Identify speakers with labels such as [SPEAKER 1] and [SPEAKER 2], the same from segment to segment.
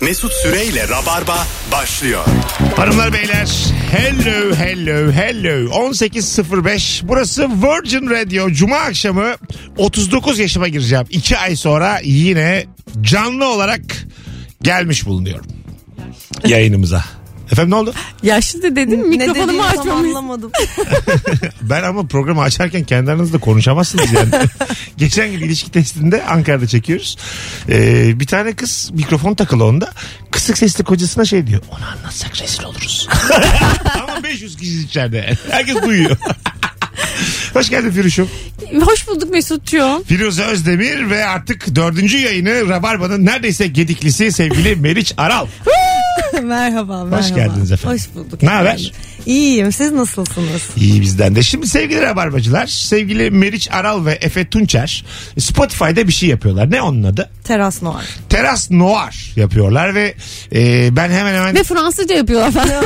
[SPEAKER 1] Mesut Süreyle Rabarba başlıyor.
[SPEAKER 2] Hanımlar beyler hello hello hello 18.05 burası Virgin Radio Cuma akşamı 39 yaşıma gireceğim 2 ay sonra yine canlı olarak gelmiş bulunuyorum yayınımıza. Efendim ne oldu?
[SPEAKER 3] Yaşlı da dedim mikrofonumu açmamış.
[SPEAKER 4] anlamadım.
[SPEAKER 2] Ben ama programı açarken kendi aranızda konuşamazsınız yani. Geçen gün ilişki testinde Ankara'da çekiyoruz. Ee, bir tane kız mikrofon takılı onda. Kısık sesli kocasına şey diyor. Onu anlatsak rezil oluruz. ama 500 kişi içeride. Herkes duyuyor. Hoş geldin Firuş'um.
[SPEAKER 3] Hoş bulduk Mesut'cuğum.
[SPEAKER 2] Firuze Özdemir ve artık dördüncü yayını Rabarba'nın neredeyse gediklisi sevgili Meriç Aral.
[SPEAKER 4] merhaba, merhaba.
[SPEAKER 2] geldiniz efendim.
[SPEAKER 4] Hoş bulduk.
[SPEAKER 2] Ne
[SPEAKER 4] efendim.
[SPEAKER 2] haber?
[SPEAKER 4] İyiyim. Siz nasılsınız?
[SPEAKER 2] İyi bizden de. Şimdi sevgili Rabarbacılar, sevgili Meriç Aral ve Efe Tunçer Spotify'da bir şey yapıyorlar. Ne onun adı?
[SPEAKER 4] Teras Noir.
[SPEAKER 2] Teras Noir yapıyorlar ve e, ben hemen hemen
[SPEAKER 3] Ve Fransızca yapıyorlar falan.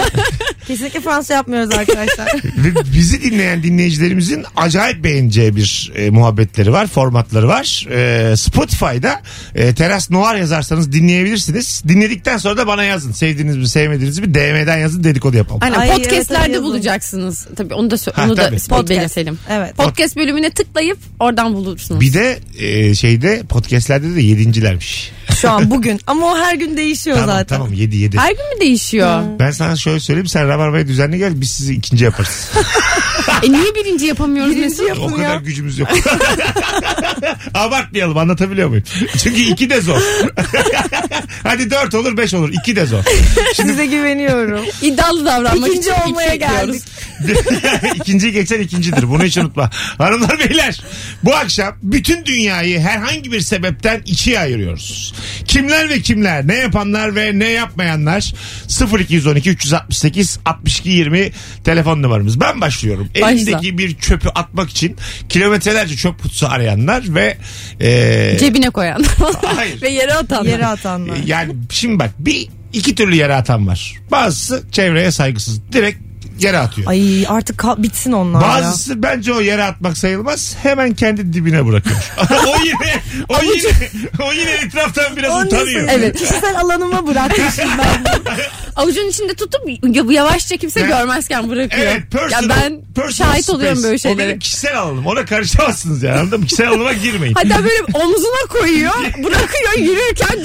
[SPEAKER 4] Kesinlikle Fransa yapmıyoruz arkadaşlar.
[SPEAKER 2] Ve bizi dinleyen dinleyicilerimizin acayip beğeneceği bir e, muhabbetleri var, formatları var. E, Spotify'da e, Teras Noir yazarsanız dinleyebilirsiniz. Dinledikten sonra da bana yazın. Sevdiğiniz mi, sevmediğiniz mi DM'den yazın dedikodu yapalım.
[SPEAKER 3] Aynen
[SPEAKER 4] Ay, evet,
[SPEAKER 3] podcastlerde
[SPEAKER 4] evet, yazın.
[SPEAKER 3] bulacaksınız. Tabii onu da sö-
[SPEAKER 2] Ha,
[SPEAKER 3] onu da
[SPEAKER 2] tabii.
[SPEAKER 3] spot
[SPEAKER 4] Podcast.
[SPEAKER 3] belirtelim.
[SPEAKER 4] Evet.
[SPEAKER 3] Podcast bölümüne tıklayıp oradan bulursunuz.
[SPEAKER 2] Bir de e, şeyde podcastlerde de yedincilermiş.
[SPEAKER 4] Şu an bugün. Ama o her gün değişiyor
[SPEAKER 2] Tamam
[SPEAKER 4] zaten.
[SPEAKER 2] tamam yedi yedi.
[SPEAKER 3] Her gün mü değişiyor?
[SPEAKER 4] Hmm.
[SPEAKER 2] Ben sana şöyle söyleyeyim sen Rabarba'ya düzenli gel biz sizi ikinci yaparız.
[SPEAKER 3] e niye birinci yapamıyoruz
[SPEAKER 4] Birinci
[SPEAKER 3] Mesut?
[SPEAKER 4] yap-
[SPEAKER 2] o
[SPEAKER 4] Yapın
[SPEAKER 2] kadar
[SPEAKER 4] ya.
[SPEAKER 2] gücümüz yok. Abartmayalım anlatabiliyor muyum? Çünkü iki de zor. Hadi dört olur beş olur iki de zor.
[SPEAKER 4] Size güveniyorum.
[SPEAKER 3] İddialı davranmak
[SPEAKER 4] İkinci
[SPEAKER 3] için
[SPEAKER 4] olmaya
[SPEAKER 3] iki yapıyoruz.
[SPEAKER 4] geldik.
[SPEAKER 2] İkinciyi geçen ikincidir. Bunu hiç unutma. Hanımlar beyler bu akşam bütün dünyayı herhangi bir sebepten ikiye ayırıyoruz. Kimler ve kimler ne yapanlar ve ne yapmayanlar 0212 368 62 20 telefon numaramız. Ben başlıyorum.
[SPEAKER 3] Başla.
[SPEAKER 2] Elindeki bir çöpü atmak için kilometrelerce çöp kutusu arayanlar ve e,
[SPEAKER 3] Cebine koyan.
[SPEAKER 2] Hayır. E,
[SPEAKER 3] Ve yere atan.
[SPEAKER 4] Yere atanlar.
[SPEAKER 2] yani şimdi bak bir iki türlü yere atan var. Bazısı çevreye saygısız. Direkt yere atıyor.
[SPEAKER 4] Ay artık kal- bitsin onlar ya.
[SPEAKER 2] Bazısı bence o yere atmak sayılmaz. Hemen kendi dibine bırakıyor. o yine o yine o yine etraftan biraz
[SPEAKER 4] Onun
[SPEAKER 2] utanıyor.
[SPEAKER 4] için-
[SPEAKER 3] Evet.
[SPEAKER 4] Kişisel alanıma bırakmışım ben.
[SPEAKER 3] Avucunun içinde tutup y- yavaşça kimse
[SPEAKER 2] Ben-
[SPEAKER 3] görmezken bırakıyor.
[SPEAKER 2] Evet, personal,
[SPEAKER 3] ya ben
[SPEAKER 2] personal
[SPEAKER 3] şahit
[SPEAKER 2] space.
[SPEAKER 3] oluyorum böyle
[SPEAKER 2] O
[SPEAKER 3] şeylere.
[SPEAKER 2] benim kişisel alanım. Ona karışamazsınız yani anladın mı? Kişisel alanıma girmeyin.
[SPEAKER 3] Hatta böyle omzuna koyuyor, bırakıyor, yürürken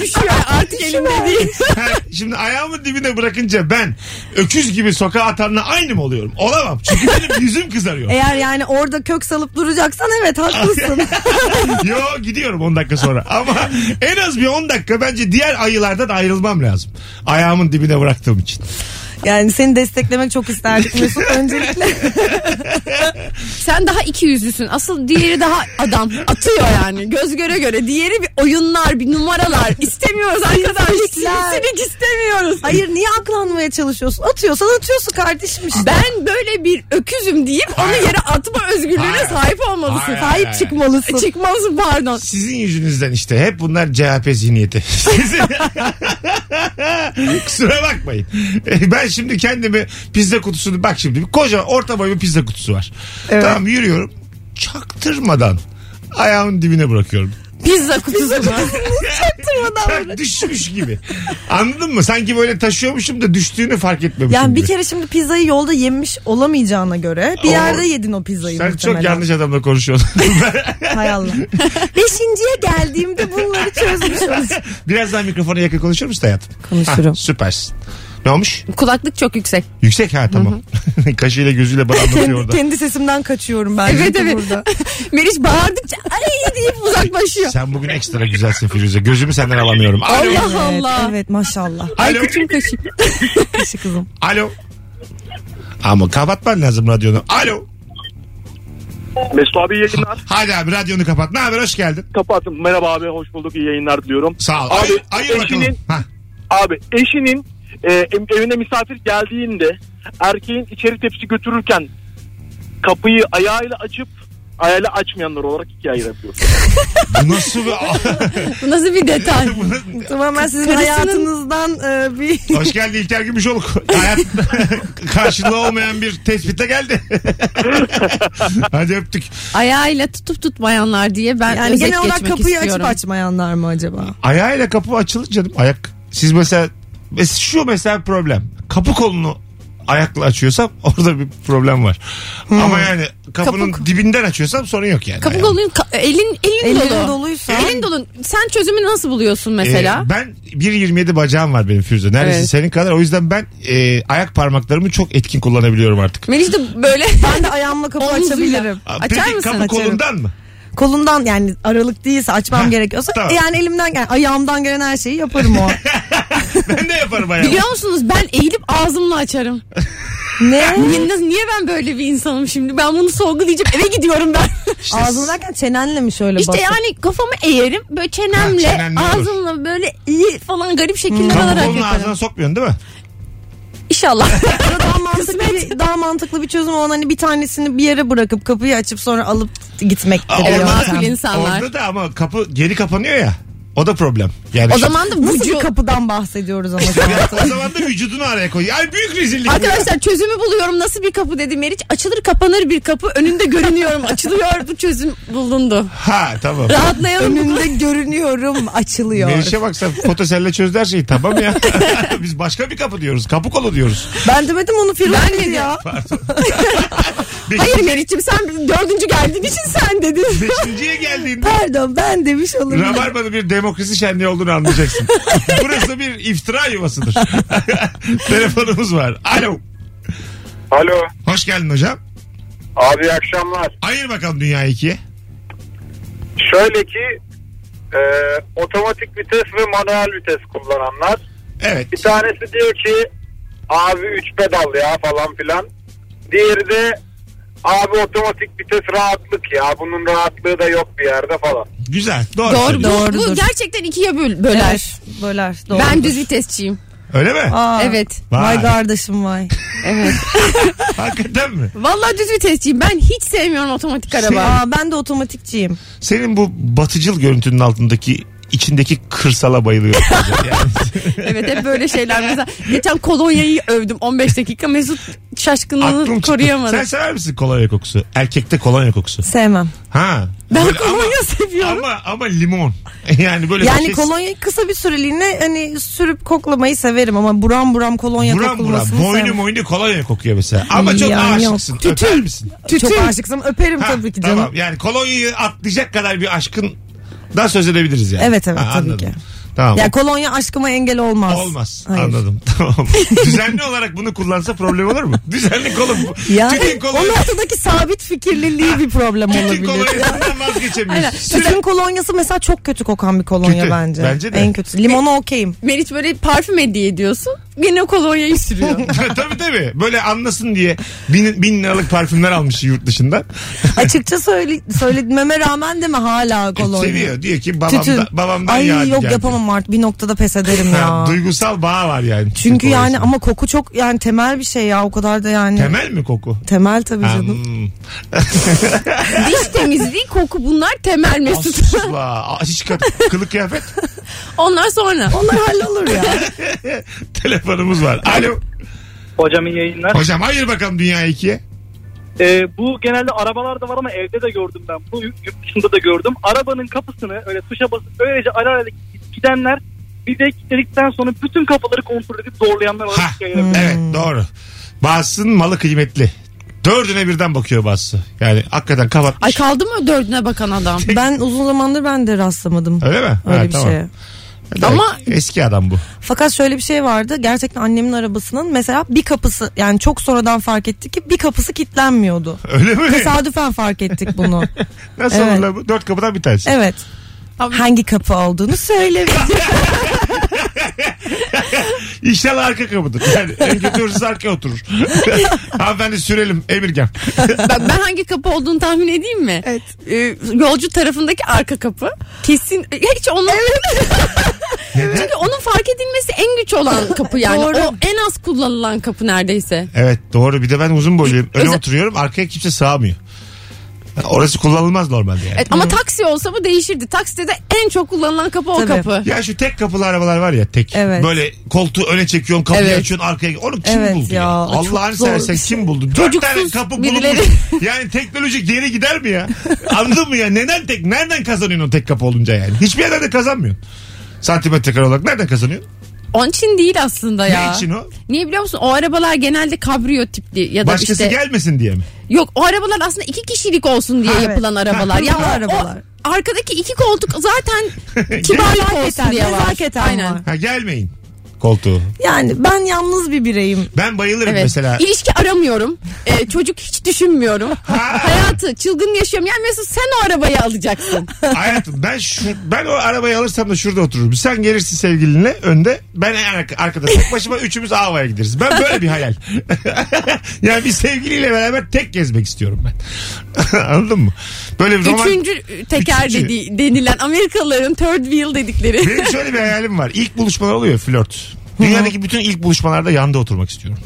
[SPEAKER 3] düşüyor. Artık elimde değil.
[SPEAKER 2] Ha, Şimdi ayağımın dibine bırakınca ben öküz gibi sokağa atanla aynı mı oluyorum? Olamam. Çünkü benim yüzüm kızarıyor.
[SPEAKER 4] Eğer yani orada kök salıp duracaksan evet haklısın.
[SPEAKER 2] Yo gidiyorum 10 dakika sonra. Ama en az bir 10 dakika bence diğer ayılardan ayrılmam lazım. Ayağımın dibine bıraktığım için.
[SPEAKER 4] yani seni desteklemek çok isterdik Mesut öncelikle.
[SPEAKER 3] Sen daha iki yüzlüsün. Asıl diğeri daha adam atıyor yani. Göz göre göre. Diğeri bir oyunlar, bir numaralar. İstemiyoruz arkadaş.
[SPEAKER 4] Sinirlikler.
[SPEAKER 3] Sinirlik istemiyoruz.
[SPEAKER 4] Hayır niye aklanmaya çalışıyorsun? Atıyorsan atıyorsun kardeşim işte.
[SPEAKER 3] Ben böyle bir öküzüm deyip onu
[SPEAKER 2] Hayır.
[SPEAKER 3] yere atma özgürlüğüne
[SPEAKER 2] Hayır.
[SPEAKER 3] sahip olmalısın.
[SPEAKER 2] Hayır, hayır,
[SPEAKER 3] sahip
[SPEAKER 2] hayır.
[SPEAKER 3] çıkmalısın. Çıkmalısın pardon.
[SPEAKER 2] Sizin yüzünüzden işte hep bunlar CHP zihniyeti. Sizin- Kusura bakmayın. E, Ben şimdi kendimi pizza kutusunu bak şimdi bir kocaman orta boy bir pizza kutusu var.
[SPEAKER 4] Evet.
[SPEAKER 2] Tamam yürüyorum. Çaktırmadan ayağımın dibine bırakıyorum.
[SPEAKER 3] Pizza kutusu.
[SPEAKER 2] Çak düşmüş gibi. Anladın mı? Sanki böyle taşıyormuşum da düştüğünü fark etmemişim
[SPEAKER 4] Yani bir
[SPEAKER 2] gibi.
[SPEAKER 4] kere şimdi pizzayı yolda yemiş olamayacağına göre bir
[SPEAKER 2] Oo.
[SPEAKER 4] yerde yedin o pizzayı
[SPEAKER 2] Sen
[SPEAKER 4] muhtemelen.
[SPEAKER 2] çok yanlış adamla konuşuyorsun.
[SPEAKER 4] Hay Allah. Beşinciye geldiğimde bunları çözmüş olacağım.
[SPEAKER 2] Biraz daha mikrofona yakın konuşur musun hayatım?
[SPEAKER 4] Konuşurum.
[SPEAKER 2] Ha, süpersin. Ne olmuş?
[SPEAKER 3] Kulaklık çok yüksek.
[SPEAKER 2] Yüksek ha tamam. Kaşıyla gözüyle bana anlatıyor
[SPEAKER 4] kendi,
[SPEAKER 2] orada.
[SPEAKER 4] kendi sesimden kaçıyorum ben.
[SPEAKER 3] Evet
[SPEAKER 4] çünkü
[SPEAKER 3] evet.
[SPEAKER 4] Burada.
[SPEAKER 3] Meriç bağırdıkça ay deyip uzaklaşıyor.
[SPEAKER 2] Sen bugün ekstra güzelsin Firuze. Gözümü senden alamıyorum. Alo.
[SPEAKER 3] Allah
[SPEAKER 4] Evet,
[SPEAKER 3] Allah.
[SPEAKER 4] evet maşallah.
[SPEAKER 3] Ay
[SPEAKER 2] Alo.
[SPEAKER 3] kıçım kaşık.
[SPEAKER 4] Kişi kızım.
[SPEAKER 2] Alo. Ama kapatman lazım radyonu. Alo.
[SPEAKER 5] Mesut abi iyi yayınlar.
[SPEAKER 2] Hadi abi radyonu kapat. Ne haber hoş geldin.
[SPEAKER 5] Kapattım. Merhaba abi hoş bulduk iyi yayınlar diliyorum.
[SPEAKER 2] Sağ ol.
[SPEAKER 5] Abi,
[SPEAKER 2] Ayır, ayır bakalım.
[SPEAKER 5] eşinin-
[SPEAKER 2] Ha.
[SPEAKER 5] Abi eşinin e, em- evine misafir geldiğinde erkeğin içeri tepsi götürürken kapıyı ayağıyla açıp ayağıyla açmayanlar olarak ikiye ayırabiliyor.
[SPEAKER 2] Bu nasıl bir...
[SPEAKER 3] Bu nasıl bir detay?
[SPEAKER 2] Bu nasıl-
[SPEAKER 4] Tamamen sizin
[SPEAKER 3] Karısının-
[SPEAKER 4] hayatınızdan e, bir...
[SPEAKER 2] hoş geldi İlker Gümüşoluk. Hayat karşılığı olmayan bir tespitte geldi. Hadi öptük.
[SPEAKER 3] Ayağıyla tutup tutmayanlar diye ben
[SPEAKER 4] Yani
[SPEAKER 3] özet
[SPEAKER 4] genel olarak
[SPEAKER 3] geçmek
[SPEAKER 4] kapıyı
[SPEAKER 3] istiyorum.
[SPEAKER 4] açıp açmayanlar mı acaba?
[SPEAKER 2] Ayağıyla kapı açılır canım. Ayak Siz mesela mes- şu mesela problem. Kapı kolunu ayakla açıyorsam orada bir problem var. Ama yani kapının
[SPEAKER 3] Hmm. Kapı-
[SPEAKER 2] dibinden açıyorsam sorun yok yani.
[SPEAKER 3] Kapı
[SPEAKER 2] Yani.
[SPEAKER 3] kolun ka- elin elin,
[SPEAKER 4] Elin
[SPEAKER 3] dolu.
[SPEAKER 4] doluysa.
[SPEAKER 3] Elin dolu. Sen çözümü nasıl buluyorsun
[SPEAKER 2] Ee,
[SPEAKER 3] mesela?
[SPEAKER 2] ben 1.27 bacağım var benim Firuze. Neredeyse
[SPEAKER 3] Evet.
[SPEAKER 2] senin kadar. O yüzden ben e, ayak parmaklarımı çok etkin kullanabiliyorum artık.
[SPEAKER 3] Melis de böyle
[SPEAKER 4] Ben de ayağımla kapı
[SPEAKER 3] omzuyla.
[SPEAKER 4] açabilirim.
[SPEAKER 2] Aa,
[SPEAKER 3] Açar
[SPEAKER 2] Peki
[SPEAKER 3] mısın?
[SPEAKER 2] kapı
[SPEAKER 3] Açarım.
[SPEAKER 2] kolundan mı?
[SPEAKER 4] Kolumdan yani aralık değilse açmam
[SPEAKER 2] Heh,
[SPEAKER 4] gerekiyorsa
[SPEAKER 2] tamam.
[SPEAKER 4] yani elimden gelen ayağımdan gelen her şeyi yaparım o. an.
[SPEAKER 2] Ben de yaparım ayağımı.
[SPEAKER 3] Biliyor musunuz ben eğilip ağzımla açarım.
[SPEAKER 4] ne?
[SPEAKER 3] Niye, niye ben böyle bir insanım şimdi? Ben bunu sorgulayacağım. Eve gidiyorum ben.
[SPEAKER 4] Ağzını derken çenenle mi şöyle
[SPEAKER 3] işte
[SPEAKER 4] basıp?
[SPEAKER 3] yani kafamı eğerim. Böyle çenemle,
[SPEAKER 2] Ha, çenenle olur.
[SPEAKER 3] ağzımla böyle iyi falan garip şekiller
[SPEAKER 2] Kapı
[SPEAKER 3] alarak
[SPEAKER 2] kolunu
[SPEAKER 3] yaparım.
[SPEAKER 2] ağzına sokmuyorsun değil mi?
[SPEAKER 3] İnşallah.
[SPEAKER 4] Ya daha mantıklı bir, daha mantıklı bir çözüm olan hani bir tanesini bir yere bırakıp kapıyı açıp sonra alıp gitmek.
[SPEAKER 2] Aa,
[SPEAKER 3] Evet,
[SPEAKER 2] orada-
[SPEAKER 3] makul insanlar.
[SPEAKER 2] Orada da ama kapı geri kapanıyor ya. O da problem. Yani
[SPEAKER 3] o
[SPEAKER 2] şu-
[SPEAKER 3] zaman da
[SPEAKER 4] Nasıl bir
[SPEAKER 3] vücut...
[SPEAKER 4] kapıdan bahsediyoruz ama?
[SPEAKER 2] Ya, o zaman da vücudunu araya koyuyor. Ay büyük rezillik. bu.
[SPEAKER 3] Arkadaşlar çözümü buluyorum. Nasıl bir kapı dedim Meriç. Açılır kapanır bir kapı. Önünde görünüyorum. Açılıyor. Bu çözüm bulundu.
[SPEAKER 2] Ha tamam.
[SPEAKER 3] Rahatlayalım.
[SPEAKER 4] Önünde görünüyorum açılıyor.
[SPEAKER 2] Meriç'e bak sen fotoselle çözdü her şeyi tamam ya. Biz başka bir kapı diyoruz. Kapı kolu diyoruz.
[SPEAKER 4] Ben demedim onu Firuze
[SPEAKER 3] Ben
[SPEAKER 4] dedi
[SPEAKER 3] dedim.
[SPEAKER 4] ya.
[SPEAKER 3] Hayır Meriç'im sen dördüncü geldiğin için sen dedin.
[SPEAKER 2] Beşinciye geldiğinde
[SPEAKER 4] Pardon ben demiş olurum.
[SPEAKER 2] Rabarba'nın bir demokrasi şenliği olduğunu anlayacaksın. Burası bir iftira yuvasıdır. Telefonumuz var. Alo.
[SPEAKER 6] Alo.
[SPEAKER 2] Hoş geldin hocam.
[SPEAKER 6] Abi iyi akşamlar.
[SPEAKER 2] Ayır bakalım dünyayı ikiye.
[SPEAKER 6] Şöyle ki e, otomatik vites ve manuel vites kullananlar.
[SPEAKER 2] Evet.
[SPEAKER 6] Bir tanesi diyor ki abi 3 pedal ya falan filan. Diğeri de abi otomatik vites rahatlık ya. Bunun rahatlığı da yok bir yerde falan.
[SPEAKER 2] Güzel. Doğru.
[SPEAKER 3] Doğru.
[SPEAKER 2] söylüyorsun.
[SPEAKER 3] Bu,
[SPEAKER 4] Doğrudur.
[SPEAKER 3] bu gerçekten ikiye böl- böler.
[SPEAKER 4] Böler. Böler. Doğru.
[SPEAKER 3] Ben düz vitesçiyim.
[SPEAKER 2] Öyle mi?
[SPEAKER 3] Ah.
[SPEAKER 4] Aa,
[SPEAKER 3] Evet.
[SPEAKER 2] Vay.
[SPEAKER 4] Vay kardeşim vay.
[SPEAKER 3] Evet.
[SPEAKER 2] Hakikaten mi?
[SPEAKER 3] Vallahi düz vitesçiyim. Ben hiç sevmiyorum
[SPEAKER 2] Şey-
[SPEAKER 3] otomatik araba.
[SPEAKER 4] Aa, ben de otomatikçiyim.
[SPEAKER 2] Senin bu batıcıl görüntünün altındaki içindeki kırsala bayılıyorum. Yani
[SPEAKER 3] evet hep böyle şeyler. Mesela geçen kolonyayı övdüm 15 dakika. Mesut
[SPEAKER 2] aklım
[SPEAKER 3] şaşkınlığını
[SPEAKER 2] çıktı.
[SPEAKER 3] koruyamadı.
[SPEAKER 2] Sen sever misin kolonya kokusu? Erkekte kolonya kokusu.
[SPEAKER 4] Sevmem.
[SPEAKER 2] Ha.
[SPEAKER 3] Ben
[SPEAKER 2] Böyle
[SPEAKER 3] kolonya seviyorum.
[SPEAKER 2] ama, ama ama limon. Yani böyle şey-
[SPEAKER 4] Yani
[SPEAKER 2] nefis-
[SPEAKER 4] kolonya kısa bir süreliğine hani sürüp koklamayı severim ama buram buram kolonya
[SPEAKER 2] buram buram.
[SPEAKER 4] kokulmasını
[SPEAKER 2] Boynu
[SPEAKER 4] sevmem.
[SPEAKER 2] moynu kolonya kokuyor mesela. Ama çok
[SPEAKER 4] Yani yok.
[SPEAKER 2] aşıksın. Öper misin?
[SPEAKER 4] Çok aşıksam öperim
[SPEAKER 2] Ha,
[SPEAKER 4] tabii ki canım.
[SPEAKER 2] Tamam. Yani kolonyayı atlayacak kadar bir aşkın daha söz edebiliriz yani.
[SPEAKER 4] Evet, evet, tabii
[SPEAKER 2] anladım.
[SPEAKER 4] ki.
[SPEAKER 2] Tamam.
[SPEAKER 4] Ya kolonya aşkıma engel olmaz.
[SPEAKER 2] Olmaz.
[SPEAKER 4] Hayır.
[SPEAKER 2] Anladım. Tamam. Düzenli olarak bunu kullansa problem olur mu? Düzenli kolum.
[SPEAKER 4] Yani
[SPEAKER 2] Tütün
[SPEAKER 4] onun
[SPEAKER 2] kolonya.
[SPEAKER 4] ortadaki sabit fikirliliği bir problem
[SPEAKER 2] Tütün
[SPEAKER 4] olabilir.
[SPEAKER 2] kolonyasından vazgeçemiyorsun. Sürekli-
[SPEAKER 4] Tütün kolonyası mesela çok kötü kokan bir kolonya
[SPEAKER 2] Kötü.
[SPEAKER 4] bence.
[SPEAKER 2] Bence de. E-
[SPEAKER 4] En kötü. Limonu okeyim.
[SPEAKER 3] Meriç böyle parfüm hediye ediyorsun. Gene kolonyayı sürüyor.
[SPEAKER 2] tabii tabii. Böyle anlasın diye bin, bin liralık parfümler almış yurt dışından.
[SPEAKER 4] Açıkça söyle, söylememe rağmen de mi hala kolonya?
[SPEAKER 2] Seviyor. Diyor ki babamda,
[SPEAKER 4] Tütün.
[SPEAKER 2] E, babamdan
[SPEAKER 4] Ay
[SPEAKER 2] yağdı
[SPEAKER 4] yok
[SPEAKER 2] geldi.
[SPEAKER 4] yapamam artık bir noktada pes ederim
[SPEAKER 2] Ha,
[SPEAKER 4] ya.
[SPEAKER 2] duygusal bağ var yani.
[SPEAKER 4] Çünkü yani
[SPEAKER 2] Kolonyasında.
[SPEAKER 4] ama koku çok yani temel bir şey ya o kadar da yani.
[SPEAKER 2] Temel mi koku?
[SPEAKER 4] Temel tabii
[SPEAKER 2] Ha,
[SPEAKER 4] canım.
[SPEAKER 2] hmm.
[SPEAKER 3] Diş temizliği, koku bunlar temel Mesut.
[SPEAKER 2] Asla. Hiç kat- kılık kıyafet.
[SPEAKER 3] Onlar sonra.
[SPEAKER 4] Onlar hallolur ya.
[SPEAKER 2] Telefonumuz var. Alo.
[SPEAKER 5] Hocam iyi yayınlar.
[SPEAKER 2] Hocam hayır bakalım dünya ikiye.
[SPEAKER 5] Ee, bu genelde arabalarda var ama evde de gördüm ben. Bu yurt dışında da gördüm. Arabanın kapısını öyle tuşa basıp böylece ara ara gidenler bir de kilitledikten sonra bütün kapıları kontrol edip zorlayanlar var.
[SPEAKER 2] Ha.
[SPEAKER 4] Hmm.
[SPEAKER 2] Evet doğru. Bazısının malı kıymetli. Dördüne birden bakıyor bazısı. Yani hakikaten kapatmış.
[SPEAKER 3] Ay kaldı mı dördüne bakan adam?
[SPEAKER 4] Ben uzun zamandır ben de rastlamadım.
[SPEAKER 2] Öyle mi?
[SPEAKER 4] Öyle
[SPEAKER 2] Ha,
[SPEAKER 4] bir şey.
[SPEAKER 2] tamam.
[SPEAKER 4] şeye.
[SPEAKER 2] Hadi
[SPEAKER 3] Ama-
[SPEAKER 2] eski adam bu.
[SPEAKER 4] Fakat şöyle bir şey vardı. Gerçekten annemin arabasının mesela bir kapısı yani çok sonradan fark ettik ki bir kapısı kilitlenmiyordu.
[SPEAKER 2] Öyle mi?
[SPEAKER 4] Tesadüfen fark ettik bunu.
[SPEAKER 2] Nasıl
[SPEAKER 4] Evet.
[SPEAKER 2] olur lan bu? Dört kapıdan bir tanesi.
[SPEAKER 4] Evet.
[SPEAKER 3] Abi-
[SPEAKER 4] Hangi kapı olduğunu söylemedi.
[SPEAKER 2] İnşallah arka kapıdır. Yani en kötü hırsız arka oturur. Hanımefendi sürelim Emirgen.
[SPEAKER 3] Ben, ben hangi kapı olduğunu tahmin edeyim mi?
[SPEAKER 4] Evet.
[SPEAKER 3] Ee, yolcu tarafındaki arka kapı. Kesin e, hiç onun Çünkü onun fark edilmesi en güç olan kapı yani.
[SPEAKER 4] Doğru.
[SPEAKER 3] O en az kullanılan kapı neredeyse.
[SPEAKER 2] Evet doğru bir de ben uzun boyluyum. Öne
[SPEAKER 3] Özel-
[SPEAKER 2] oturuyorum arkaya kimse sığamıyor. Yani Orası kullanılmaz normalde yani.
[SPEAKER 3] Evet, ama taksi olsa bu değişirdi. Takside de en çok kullanılan kapı o
[SPEAKER 4] Tabii.
[SPEAKER 3] kapı.
[SPEAKER 2] Ya şu tek kapılı arabalar var ya tek.
[SPEAKER 4] Evet.
[SPEAKER 2] Böyle koltuğu öne çekiyorsun kapıyı
[SPEAKER 3] Evet.
[SPEAKER 2] açıyorsun arkaya. Onu kim
[SPEAKER 4] Evet
[SPEAKER 2] buldu ya?
[SPEAKER 4] ya,
[SPEAKER 2] Allah'ını
[SPEAKER 4] çok zor
[SPEAKER 2] seversen
[SPEAKER 4] bir
[SPEAKER 2] kim buldu? Dört tane
[SPEAKER 3] Çocuksuz
[SPEAKER 2] kapı
[SPEAKER 3] birileri.
[SPEAKER 2] bulunmuş. Yani teknoloji geri gider mi ya? Anladın mı ya? Neden tek? Nereden kazanıyorsun o tek kapı olunca yani? Hiçbir yerden de kazanmıyorsun. Santimetrekare olarak nereden kazanıyorsun?
[SPEAKER 3] Onun için değil aslında ya.
[SPEAKER 2] Ne için o?
[SPEAKER 3] Niye biliyor musun? O arabalar genelde kabriyo tipli ya da
[SPEAKER 2] Başkası
[SPEAKER 3] işte.
[SPEAKER 2] gelmesin diye mi?
[SPEAKER 3] Yok o arabalar aslında iki kişilik olsun diye
[SPEAKER 4] Ha, evet.
[SPEAKER 3] yapılan arabalar. ya
[SPEAKER 4] Bu
[SPEAKER 3] o-
[SPEAKER 4] arabalar.
[SPEAKER 3] o arkadaki iki koltuk zaten kibarlık olsun
[SPEAKER 4] Nezaketen,
[SPEAKER 3] diye var.
[SPEAKER 4] nezaketen
[SPEAKER 3] Aynen.
[SPEAKER 4] var.
[SPEAKER 2] Ha gelmeyin koltuğu.
[SPEAKER 4] Yani ben yalnız bir bireyim.
[SPEAKER 2] Ben bayılırım
[SPEAKER 3] Evet.
[SPEAKER 2] mesela.
[SPEAKER 3] İlişki aramıyorum. Ee, çocuk hiç düşünmüyorum. Hayatı çılgın yaşıyorum. Yani Mesut sen o arabayı alacaksın.
[SPEAKER 2] Hayatım ben şu ben o arabayı alırsam da şurada otururum. Sen gelirsin sevgilinle önde. Ben en arka, arkada tek başıma üçümüz Ava'ya gideriz. Ben böyle bir hayal. yani bir sevgiliyle beraber tek gezmek istiyorum ben. Anladın mı? Böyle bir roman...
[SPEAKER 3] Üçüncü teker
[SPEAKER 2] Üçüncü.
[SPEAKER 3] dedi, denilen Amerikalıların third wheel dedikleri.
[SPEAKER 2] Benim şöyle bir hayalim var. İlk buluşmalar oluyor flört. Dünyadaki bütün ilk buluşmalarda yanda oturmak istiyorum.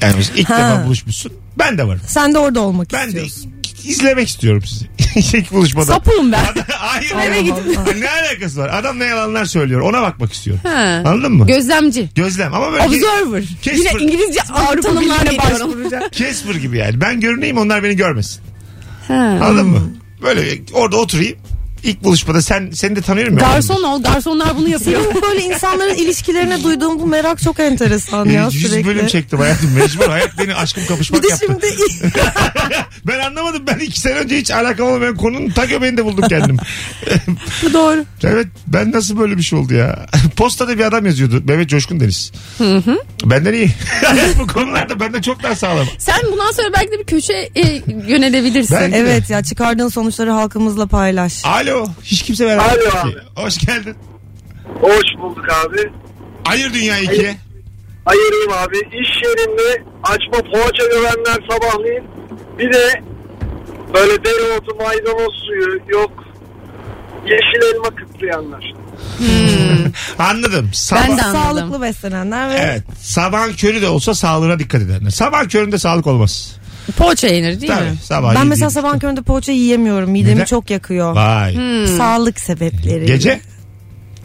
[SPEAKER 2] Yani biz ilk
[SPEAKER 4] Ha.
[SPEAKER 2] defa buluşmuşsun. Ben de varım.
[SPEAKER 4] Sen de orada olmak
[SPEAKER 2] Ben de
[SPEAKER 4] istiyorsun.
[SPEAKER 2] izlemek istiyorum sizi. İlk buluşmada.
[SPEAKER 3] Sapığım ben.
[SPEAKER 2] Hayır.
[SPEAKER 4] Eve gidin.
[SPEAKER 2] ne alakası var? Adam ne yalanlar söylüyor. Ona bakmak istiyorum.
[SPEAKER 3] Ha.
[SPEAKER 2] Anladın mı?
[SPEAKER 3] Gözlemci.
[SPEAKER 2] Gözlem ama böyle
[SPEAKER 4] Hani
[SPEAKER 3] Observer.
[SPEAKER 2] Kes
[SPEAKER 3] Yine
[SPEAKER 2] fır-
[SPEAKER 3] İngilizce Avrupa Birliği'ne başvuru.
[SPEAKER 2] Kesper gibi yani. Ben görüneyim onlar beni görmesin.
[SPEAKER 3] Ha.
[SPEAKER 2] Anladın mı? Böyle bir- orada oturayım. İlk buluşmada sen seni de tanıyorum ya.
[SPEAKER 3] Garson ol. Garsonlar bunu yapıyor.
[SPEAKER 4] Senin bu böyle insanların ilişkilerine duyduğum bu merak çok enteresan
[SPEAKER 2] Ee,
[SPEAKER 4] ya
[SPEAKER 2] 100
[SPEAKER 4] sürekli.
[SPEAKER 2] bölüm çektim hayatım mecbur. Hayat beni aşkım
[SPEAKER 4] Bir
[SPEAKER 2] kapışmak
[SPEAKER 4] de
[SPEAKER 2] yaptı.
[SPEAKER 4] şimdi
[SPEAKER 2] Ben anlamadım. Ben iki sene önce hiç alakam olmayan konunun ta göbeğinde buldum kendim.
[SPEAKER 4] Bu doğru.
[SPEAKER 2] Evet ben nasıl böyle bir şey oldu ya? Postada bir adam yazıyordu. Mehmet Coşkun Deniz. Benden iyi. Bu konularda benden çok daha sağlam.
[SPEAKER 3] Sen bundan sonra belki de bir köşe e, yönelebilirsin.
[SPEAKER 2] Ben-
[SPEAKER 4] Evet ya çıkardığın sonuçları halkımızla paylaş.
[SPEAKER 2] Alo. Hiç kimse beraber.
[SPEAKER 6] Alo
[SPEAKER 2] yok
[SPEAKER 6] abi.
[SPEAKER 2] ki. Hoş geldin.
[SPEAKER 6] Hoş bulduk abi.
[SPEAKER 2] Ayır dünya ikiye.
[SPEAKER 6] Ayırayım abi. İş yerinde açma poğaça görenler sabahleyin. Bir de böyle dereotu maydanoz suyu yok. Yeşil elma kıtlayanlar.
[SPEAKER 2] Anladım. Sabah...
[SPEAKER 3] Ben de anladım.
[SPEAKER 4] Sağlıklı beslenenler ve
[SPEAKER 2] Evet. Sabahın körü de olsa sağlığına dikkat edenler. Sabah köründe sağlık olmaz.
[SPEAKER 3] Poğaça yenir değil
[SPEAKER 2] Tabii.
[SPEAKER 3] mi?
[SPEAKER 2] Sabah
[SPEAKER 4] ben
[SPEAKER 2] yediğin-
[SPEAKER 4] mesela sabah köründe poğaça yiyemiyorum. Midemi
[SPEAKER 2] Neden?
[SPEAKER 4] çok yakıyor.
[SPEAKER 2] Vay.
[SPEAKER 4] Sağlık sebepleri.
[SPEAKER 2] Gece?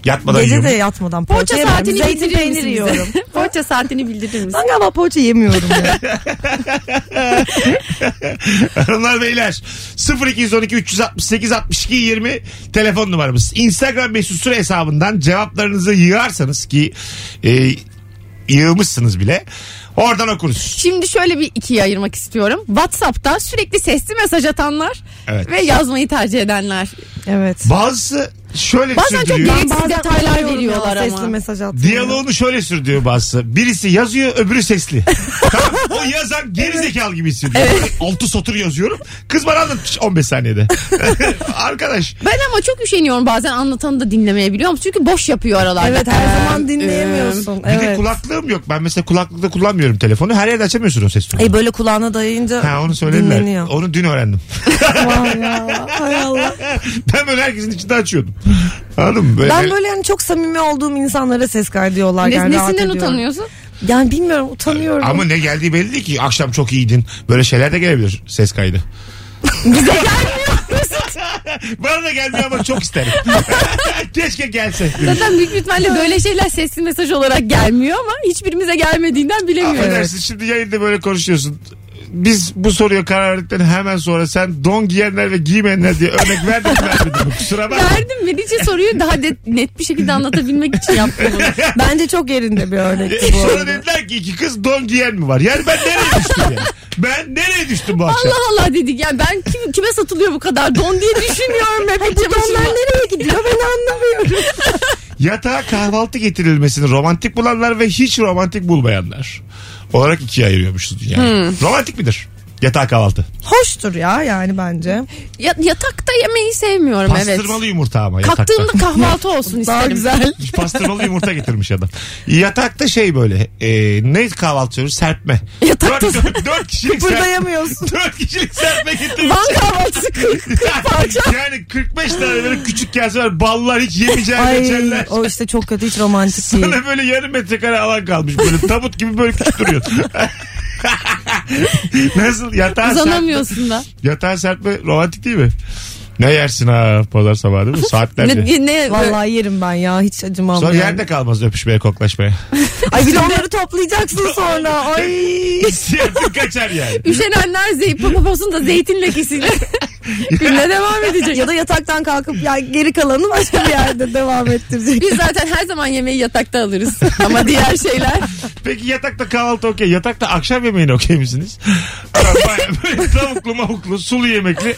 [SPEAKER 2] Yatmadan
[SPEAKER 4] Hmm. Gece
[SPEAKER 2] yiyor
[SPEAKER 4] de
[SPEAKER 2] mu?
[SPEAKER 4] yatmadan poğaça,
[SPEAKER 3] Poğaça
[SPEAKER 4] yemiyorum.
[SPEAKER 3] saatini
[SPEAKER 4] Zeytin
[SPEAKER 3] bildirir
[SPEAKER 4] peyniri
[SPEAKER 3] misin
[SPEAKER 4] yiyorum.
[SPEAKER 3] bize? Poğaça saatini bildirir misin?
[SPEAKER 4] Ben galiba poğaça yemiyorum ya.
[SPEAKER 2] Hanımlar beyler 0212 368 62 20 telefon numaramız. Instagram mesut süre hesabından cevaplarınızı yığarsanız ki e, yığmışsınız bile oradan okuruz.
[SPEAKER 3] Şimdi şöyle bir ikiye ayırmak istiyorum. WhatsApp'ta sürekli sesli mesaj atanlar
[SPEAKER 2] Evet.
[SPEAKER 3] ve yazmayı tercih edenler.
[SPEAKER 4] evet.
[SPEAKER 2] Bazısı şöyle
[SPEAKER 3] Bazen çok
[SPEAKER 2] sürdürüyor.
[SPEAKER 3] gereksiz detaylar veriyorlar ama.
[SPEAKER 4] Sesli mesaj atmıyor.
[SPEAKER 2] Diyaloğunu şöyle sürdürüyor bazısı. Birisi yazıyor öbürü sesli. tamam, o yazan gerizekalı gibi hissediyor. Altı satır yazıyorum. Kız bana anlatmış 15 saniyede. Arkadaş
[SPEAKER 3] Ben ama çok üşeniyorum bazen anlatanı da dinlemeyebiliyorum. Çünkü boş yapıyor aralarda.
[SPEAKER 4] Evet her
[SPEAKER 3] Ee,
[SPEAKER 4] zaman dinleyemiyorsun.
[SPEAKER 2] bir de
[SPEAKER 4] evet.
[SPEAKER 2] kulaklığım yok. Ben mesela kulaklıkta kullanmıyorum telefonu. Her yerde açamıyorsun o ses tonunu.
[SPEAKER 4] E böyle kulağına dayayınca
[SPEAKER 2] Ha onu söylediler.
[SPEAKER 4] dinleniyor.
[SPEAKER 2] Onu dün öğrendim.
[SPEAKER 4] Vay ya, hay Allah.
[SPEAKER 2] ben böyle herkesin içinde açıyordum. Anladın mı? Böyle
[SPEAKER 4] Ben böyle hani çok samimi olduğum insanlara ses kaydediyorlar.
[SPEAKER 3] ne-
[SPEAKER 4] yani rahat
[SPEAKER 3] nesinden
[SPEAKER 4] ediyorum.
[SPEAKER 3] utanıyorsun?
[SPEAKER 4] Yani bilmiyorum utanıyorum.
[SPEAKER 2] Ama ne geldiği belli değil ki. Akşam çok iyiydin. Böyle şeyler de gelebilir ses kaydı. Bana da gelmiyor ama çok isterim. Keşke gelse.
[SPEAKER 3] Zaten büyük ihtimalle böyle şeyler sesli mesaj olarak gelmiyor ama hiçbirimize gelmediğinden bilemiyorum.
[SPEAKER 2] Affedersin şimdi yayında böyle konuşuyorsun. Biz bu soruya karar verdikten hemen sonra sen don giyenler ve giymeyenler diye örnek verdin mi vermedin mi? Kusura bakma.
[SPEAKER 3] Verdim verici soruyu daha de- net bir şekilde anlatabilmek için yaptım bunu.
[SPEAKER 4] Bence çok yerinde bir örnekti bu
[SPEAKER 2] Sonra
[SPEAKER 4] arada.
[SPEAKER 2] dediler ki iki kız don giyen mi var? Yani ben nereye düştüm yani? Ben nereye düştüm bu akşam?
[SPEAKER 3] Allah Allah dedik yani ben kim, kime satılıyor bu kadar don diye düşünüyorum hep
[SPEAKER 4] Bu
[SPEAKER 3] içi başıma.
[SPEAKER 4] donlar nereye gidiyor ben anlamıyorum.
[SPEAKER 2] Yatağa kahvaltı getirilmesini romantik bulanlar ve hiç romantik bulmayanlar olarak ikiye ayırıyormuşuz dünyayı.
[SPEAKER 3] Hmm.
[SPEAKER 2] Romantik midir? Yatağa kahvaltı.
[SPEAKER 4] Hoştur ya yani bence.
[SPEAKER 3] Ya- yatakta yemeği sevmiyorum evet.
[SPEAKER 2] Pastırmalı yumurta ama yatakta.
[SPEAKER 3] Kalktığımda kahvaltı olsun isterim.
[SPEAKER 4] Daha güzel.
[SPEAKER 2] Pastırmalı yumurta getirmiş adam. Yatakta şey böyle e, ne kahvaltı diyoruz? Serpme.
[SPEAKER 3] Yatakta
[SPEAKER 2] dört, dört, dört kişilik serpme.
[SPEAKER 4] Kıpırdayamıyorsun.
[SPEAKER 2] Dört kişilik serpme getirmiş.
[SPEAKER 3] Van kahvaltısı kırk.
[SPEAKER 2] yani 45 tane böyle küçük kase var. Ballar hiç yemeyeceğin
[SPEAKER 4] Ay
[SPEAKER 2] reçeller.
[SPEAKER 4] o işte çok kötü hiç romantik değil.
[SPEAKER 2] Sana böyle yarım metrekare alan kalmış. Böyle tabut gibi böyle küçük duruyor. Nasıl? Yatağa serpme.
[SPEAKER 3] Uzanamıyorsun da.
[SPEAKER 2] Yatağa serpme romantik değil mi? Ne yersin ha pazar sabahı değil mi? Saatlerce.
[SPEAKER 3] Ne, ne,
[SPEAKER 4] Vallahi yerim ben ya hiç acımam.
[SPEAKER 2] Sonra
[SPEAKER 4] yani.
[SPEAKER 2] yerde kalmaz öpüşmeye koklaşmaya.
[SPEAKER 4] Ay bir de onları toplayacaksın sonra. Ay.
[SPEAKER 2] İstiyatın kaçar yani.
[SPEAKER 3] Üşenenler zey, poposunu da zeytin lekesiyle Gününe devam edecek.
[SPEAKER 4] ya da yataktan kalkıp ya geri kalanı başka bir yerde devam ettirecek.
[SPEAKER 3] Biz zaten her zaman yemeği yatakta alırız. Ama diğer şeyler.
[SPEAKER 2] Peki yatakta kahvaltı okey. Yatakta akşam yemeğine okey misiniz? Baya böyle tavuklu mavuklu sulu yemekli.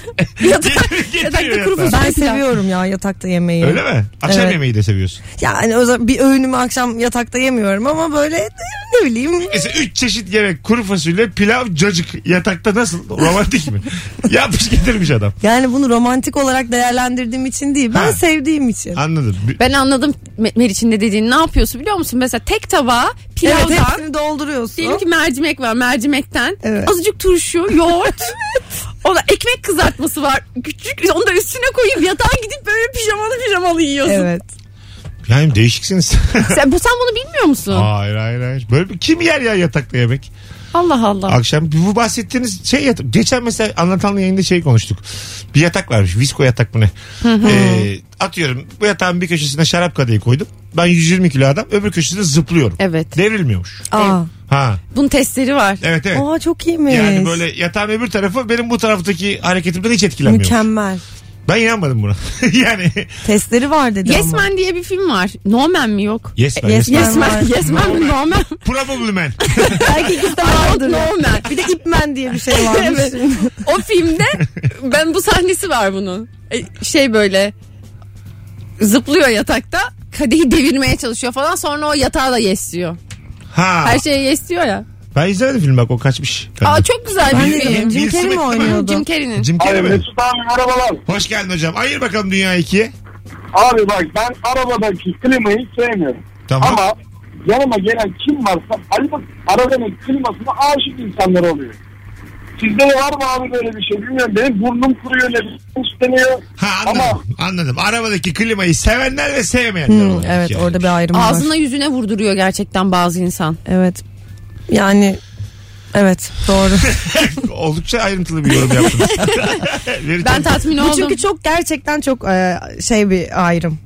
[SPEAKER 3] yatakta
[SPEAKER 2] yatakta
[SPEAKER 3] kuru fasulye.
[SPEAKER 4] Ben seviyorum ya yatakta yemeği.
[SPEAKER 2] Öyle mi? Akşam
[SPEAKER 4] Evet.
[SPEAKER 2] yemeği de seviyorsun.
[SPEAKER 4] Yani özel- bir öğünümü akşam yatakta yemiyorum ama böyle ne bileyim
[SPEAKER 2] Mesela üç çeşit yemek kuru fasulye, pilav, cacık. Yatakta nasıl? Romantik mi? Yapmış getirmiş adam.
[SPEAKER 4] yani bunu romantik olarak değerlendirdiğim için değil ben
[SPEAKER 2] Ha.
[SPEAKER 4] sevdiğim için.
[SPEAKER 2] Anladım. Bir-
[SPEAKER 3] Ben anladım Me- Meriç'in de dediğini. Ne yapıyorsun biliyor musun? Mesela tek tabağa
[SPEAKER 4] Evet
[SPEAKER 3] pilavdan.
[SPEAKER 4] hepsini dolduruyorsun.
[SPEAKER 3] Diyelim ki mercimek var mercimekten.
[SPEAKER 4] Evet.
[SPEAKER 3] Azıcık turşu, yoğurt. Ona ekmek kızartması var. Küçük onu da üstüne koyup yatağa gidip böyle pijamalı pijamalı yiyorsun.
[SPEAKER 4] Evet.
[SPEAKER 2] Yani değişiksiniz.
[SPEAKER 3] Sen, bu, sen bunu bilmiyor musun?
[SPEAKER 2] hayır hayır hayır. Böyle bir, kim yer ya yatakta yemek?
[SPEAKER 3] Allah Allah.
[SPEAKER 2] Akşam bu bahsettiğiniz şey yatak. Geçen mesela anlatanla yayında şey konuştuk. Bir yatak varmış. Visko yatak mı ne? Ee, atıyorum bu yatağın bir köşesine şarap kadehi koydum. Ben 120 kilo adam öbür köşesine zıplıyorum.
[SPEAKER 3] Evet.
[SPEAKER 2] Devrilmiyormuş.
[SPEAKER 4] Aa,
[SPEAKER 2] Ha
[SPEAKER 3] Bunun testleri var.
[SPEAKER 2] evet evet.
[SPEAKER 4] aa çok iyiymiş.
[SPEAKER 2] Yani böyle yatağın öbür tarafı benim bu taraftaki hareketimden hiç etkilenmiyor.
[SPEAKER 4] Mükemmel.
[SPEAKER 2] Ben inanmadım buna. yani
[SPEAKER 4] Testleri var dedi
[SPEAKER 3] Yes
[SPEAKER 4] ama.
[SPEAKER 3] Man diye bir film var. No Man mi yok?
[SPEAKER 2] yes ben,
[SPEAKER 4] Yes
[SPEAKER 2] yes,
[SPEAKER 4] Man
[SPEAKER 3] Yes Man,
[SPEAKER 4] var.
[SPEAKER 3] yes man mi? No Man.
[SPEAKER 2] Probably man.
[SPEAKER 4] Belki ikisi de vardır.
[SPEAKER 3] No Man.
[SPEAKER 4] Bir de ipmen diye bir şey varmış.
[SPEAKER 3] Evet. O filmde ben bu sahnesi var bunun. E, Şey böyle zıplıyor yatakta kadehi devirmeye çalışıyor falan sonra o yatağa da yes diyor.
[SPEAKER 2] Ha.
[SPEAKER 4] şey-
[SPEAKER 3] Her şeye yes diyor ya.
[SPEAKER 2] Ben izlemedim film bak o kaçmış.
[SPEAKER 3] Aa çok güzel
[SPEAKER 4] Ben
[SPEAKER 3] bir
[SPEAKER 4] de
[SPEAKER 3] film.
[SPEAKER 4] dedim Jim
[SPEAKER 2] Will
[SPEAKER 4] Carrey
[SPEAKER 2] Smith
[SPEAKER 4] mi
[SPEAKER 2] mi?
[SPEAKER 4] oynuyordu?
[SPEAKER 3] Jim Carrey'nin.
[SPEAKER 2] Jim
[SPEAKER 6] Abi
[SPEAKER 2] Carrey mi?
[SPEAKER 6] Mesut abi merhabalar.
[SPEAKER 2] Hoş geldin hocam. Ayır bakalım dünya ikiye.
[SPEAKER 6] Abi bak ben arabadaki klimayı hiç sevmiyorum.
[SPEAKER 2] Tamam.
[SPEAKER 6] Ama yanıma gelen kim varsa Ali bak arabanın klimasına aşık insanlar oluyor. Sizde de var mı abi böyle bir şey bilmiyorum. Benim burnum kuruyor ne bileyim istemiyor.
[SPEAKER 2] Ha anladım.
[SPEAKER 6] Ama
[SPEAKER 2] Anladım. Arabadaki klimayı sevenler ve sevmeyenler.
[SPEAKER 4] Hı,
[SPEAKER 2] olarak
[SPEAKER 4] Hmm, evet
[SPEAKER 2] yani.
[SPEAKER 4] orada bir ayrım var. E,
[SPEAKER 3] Ağzına yüzüne vurduruyor gerçekten bazı insan.
[SPEAKER 4] Evet. Yani evet doğru.
[SPEAKER 2] Oldukça ayrıntılı bir yorum yaptınız. Veri
[SPEAKER 3] Ben
[SPEAKER 2] tam-
[SPEAKER 3] tatmin
[SPEAKER 4] Bu
[SPEAKER 3] oldum.
[SPEAKER 4] çünkü çok gerçekten çok e, şey bir ayrım.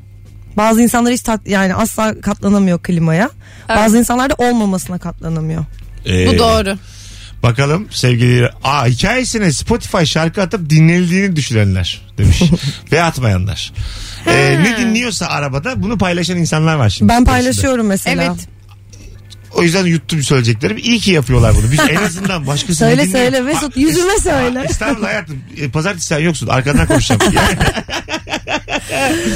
[SPEAKER 4] Bazı insanlar hiç tat, yani asla katlanamıyor klimaya.
[SPEAKER 3] Evet.
[SPEAKER 4] Bazı insanlar da olmamasına katlanamıyor.
[SPEAKER 2] Ee,
[SPEAKER 3] bu doğru.
[SPEAKER 2] Bakalım sevgili... Aa hikayesine Spotify şarkı atıp dinlenildiğini düşünenler demiş. ve atmayanlar. Ee, ne dinliyorsa arabada bunu paylaşan insanlar var şimdi.
[SPEAKER 4] Ben
[SPEAKER 2] Spotify'da.
[SPEAKER 4] paylaşıyorum mesela.
[SPEAKER 3] Evet.
[SPEAKER 2] O yüzden yuttum söyleyeceklerim. İyi ki yapıyorlar bunu. Biz en azından başkasını
[SPEAKER 4] Söyle söyle Mesut yüzüme
[SPEAKER 2] Aa,
[SPEAKER 4] söyle.
[SPEAKER 2] Estağfurullah hayatım. E, Pazartesi sen yoksun. Arkandan konuşacağım. Yani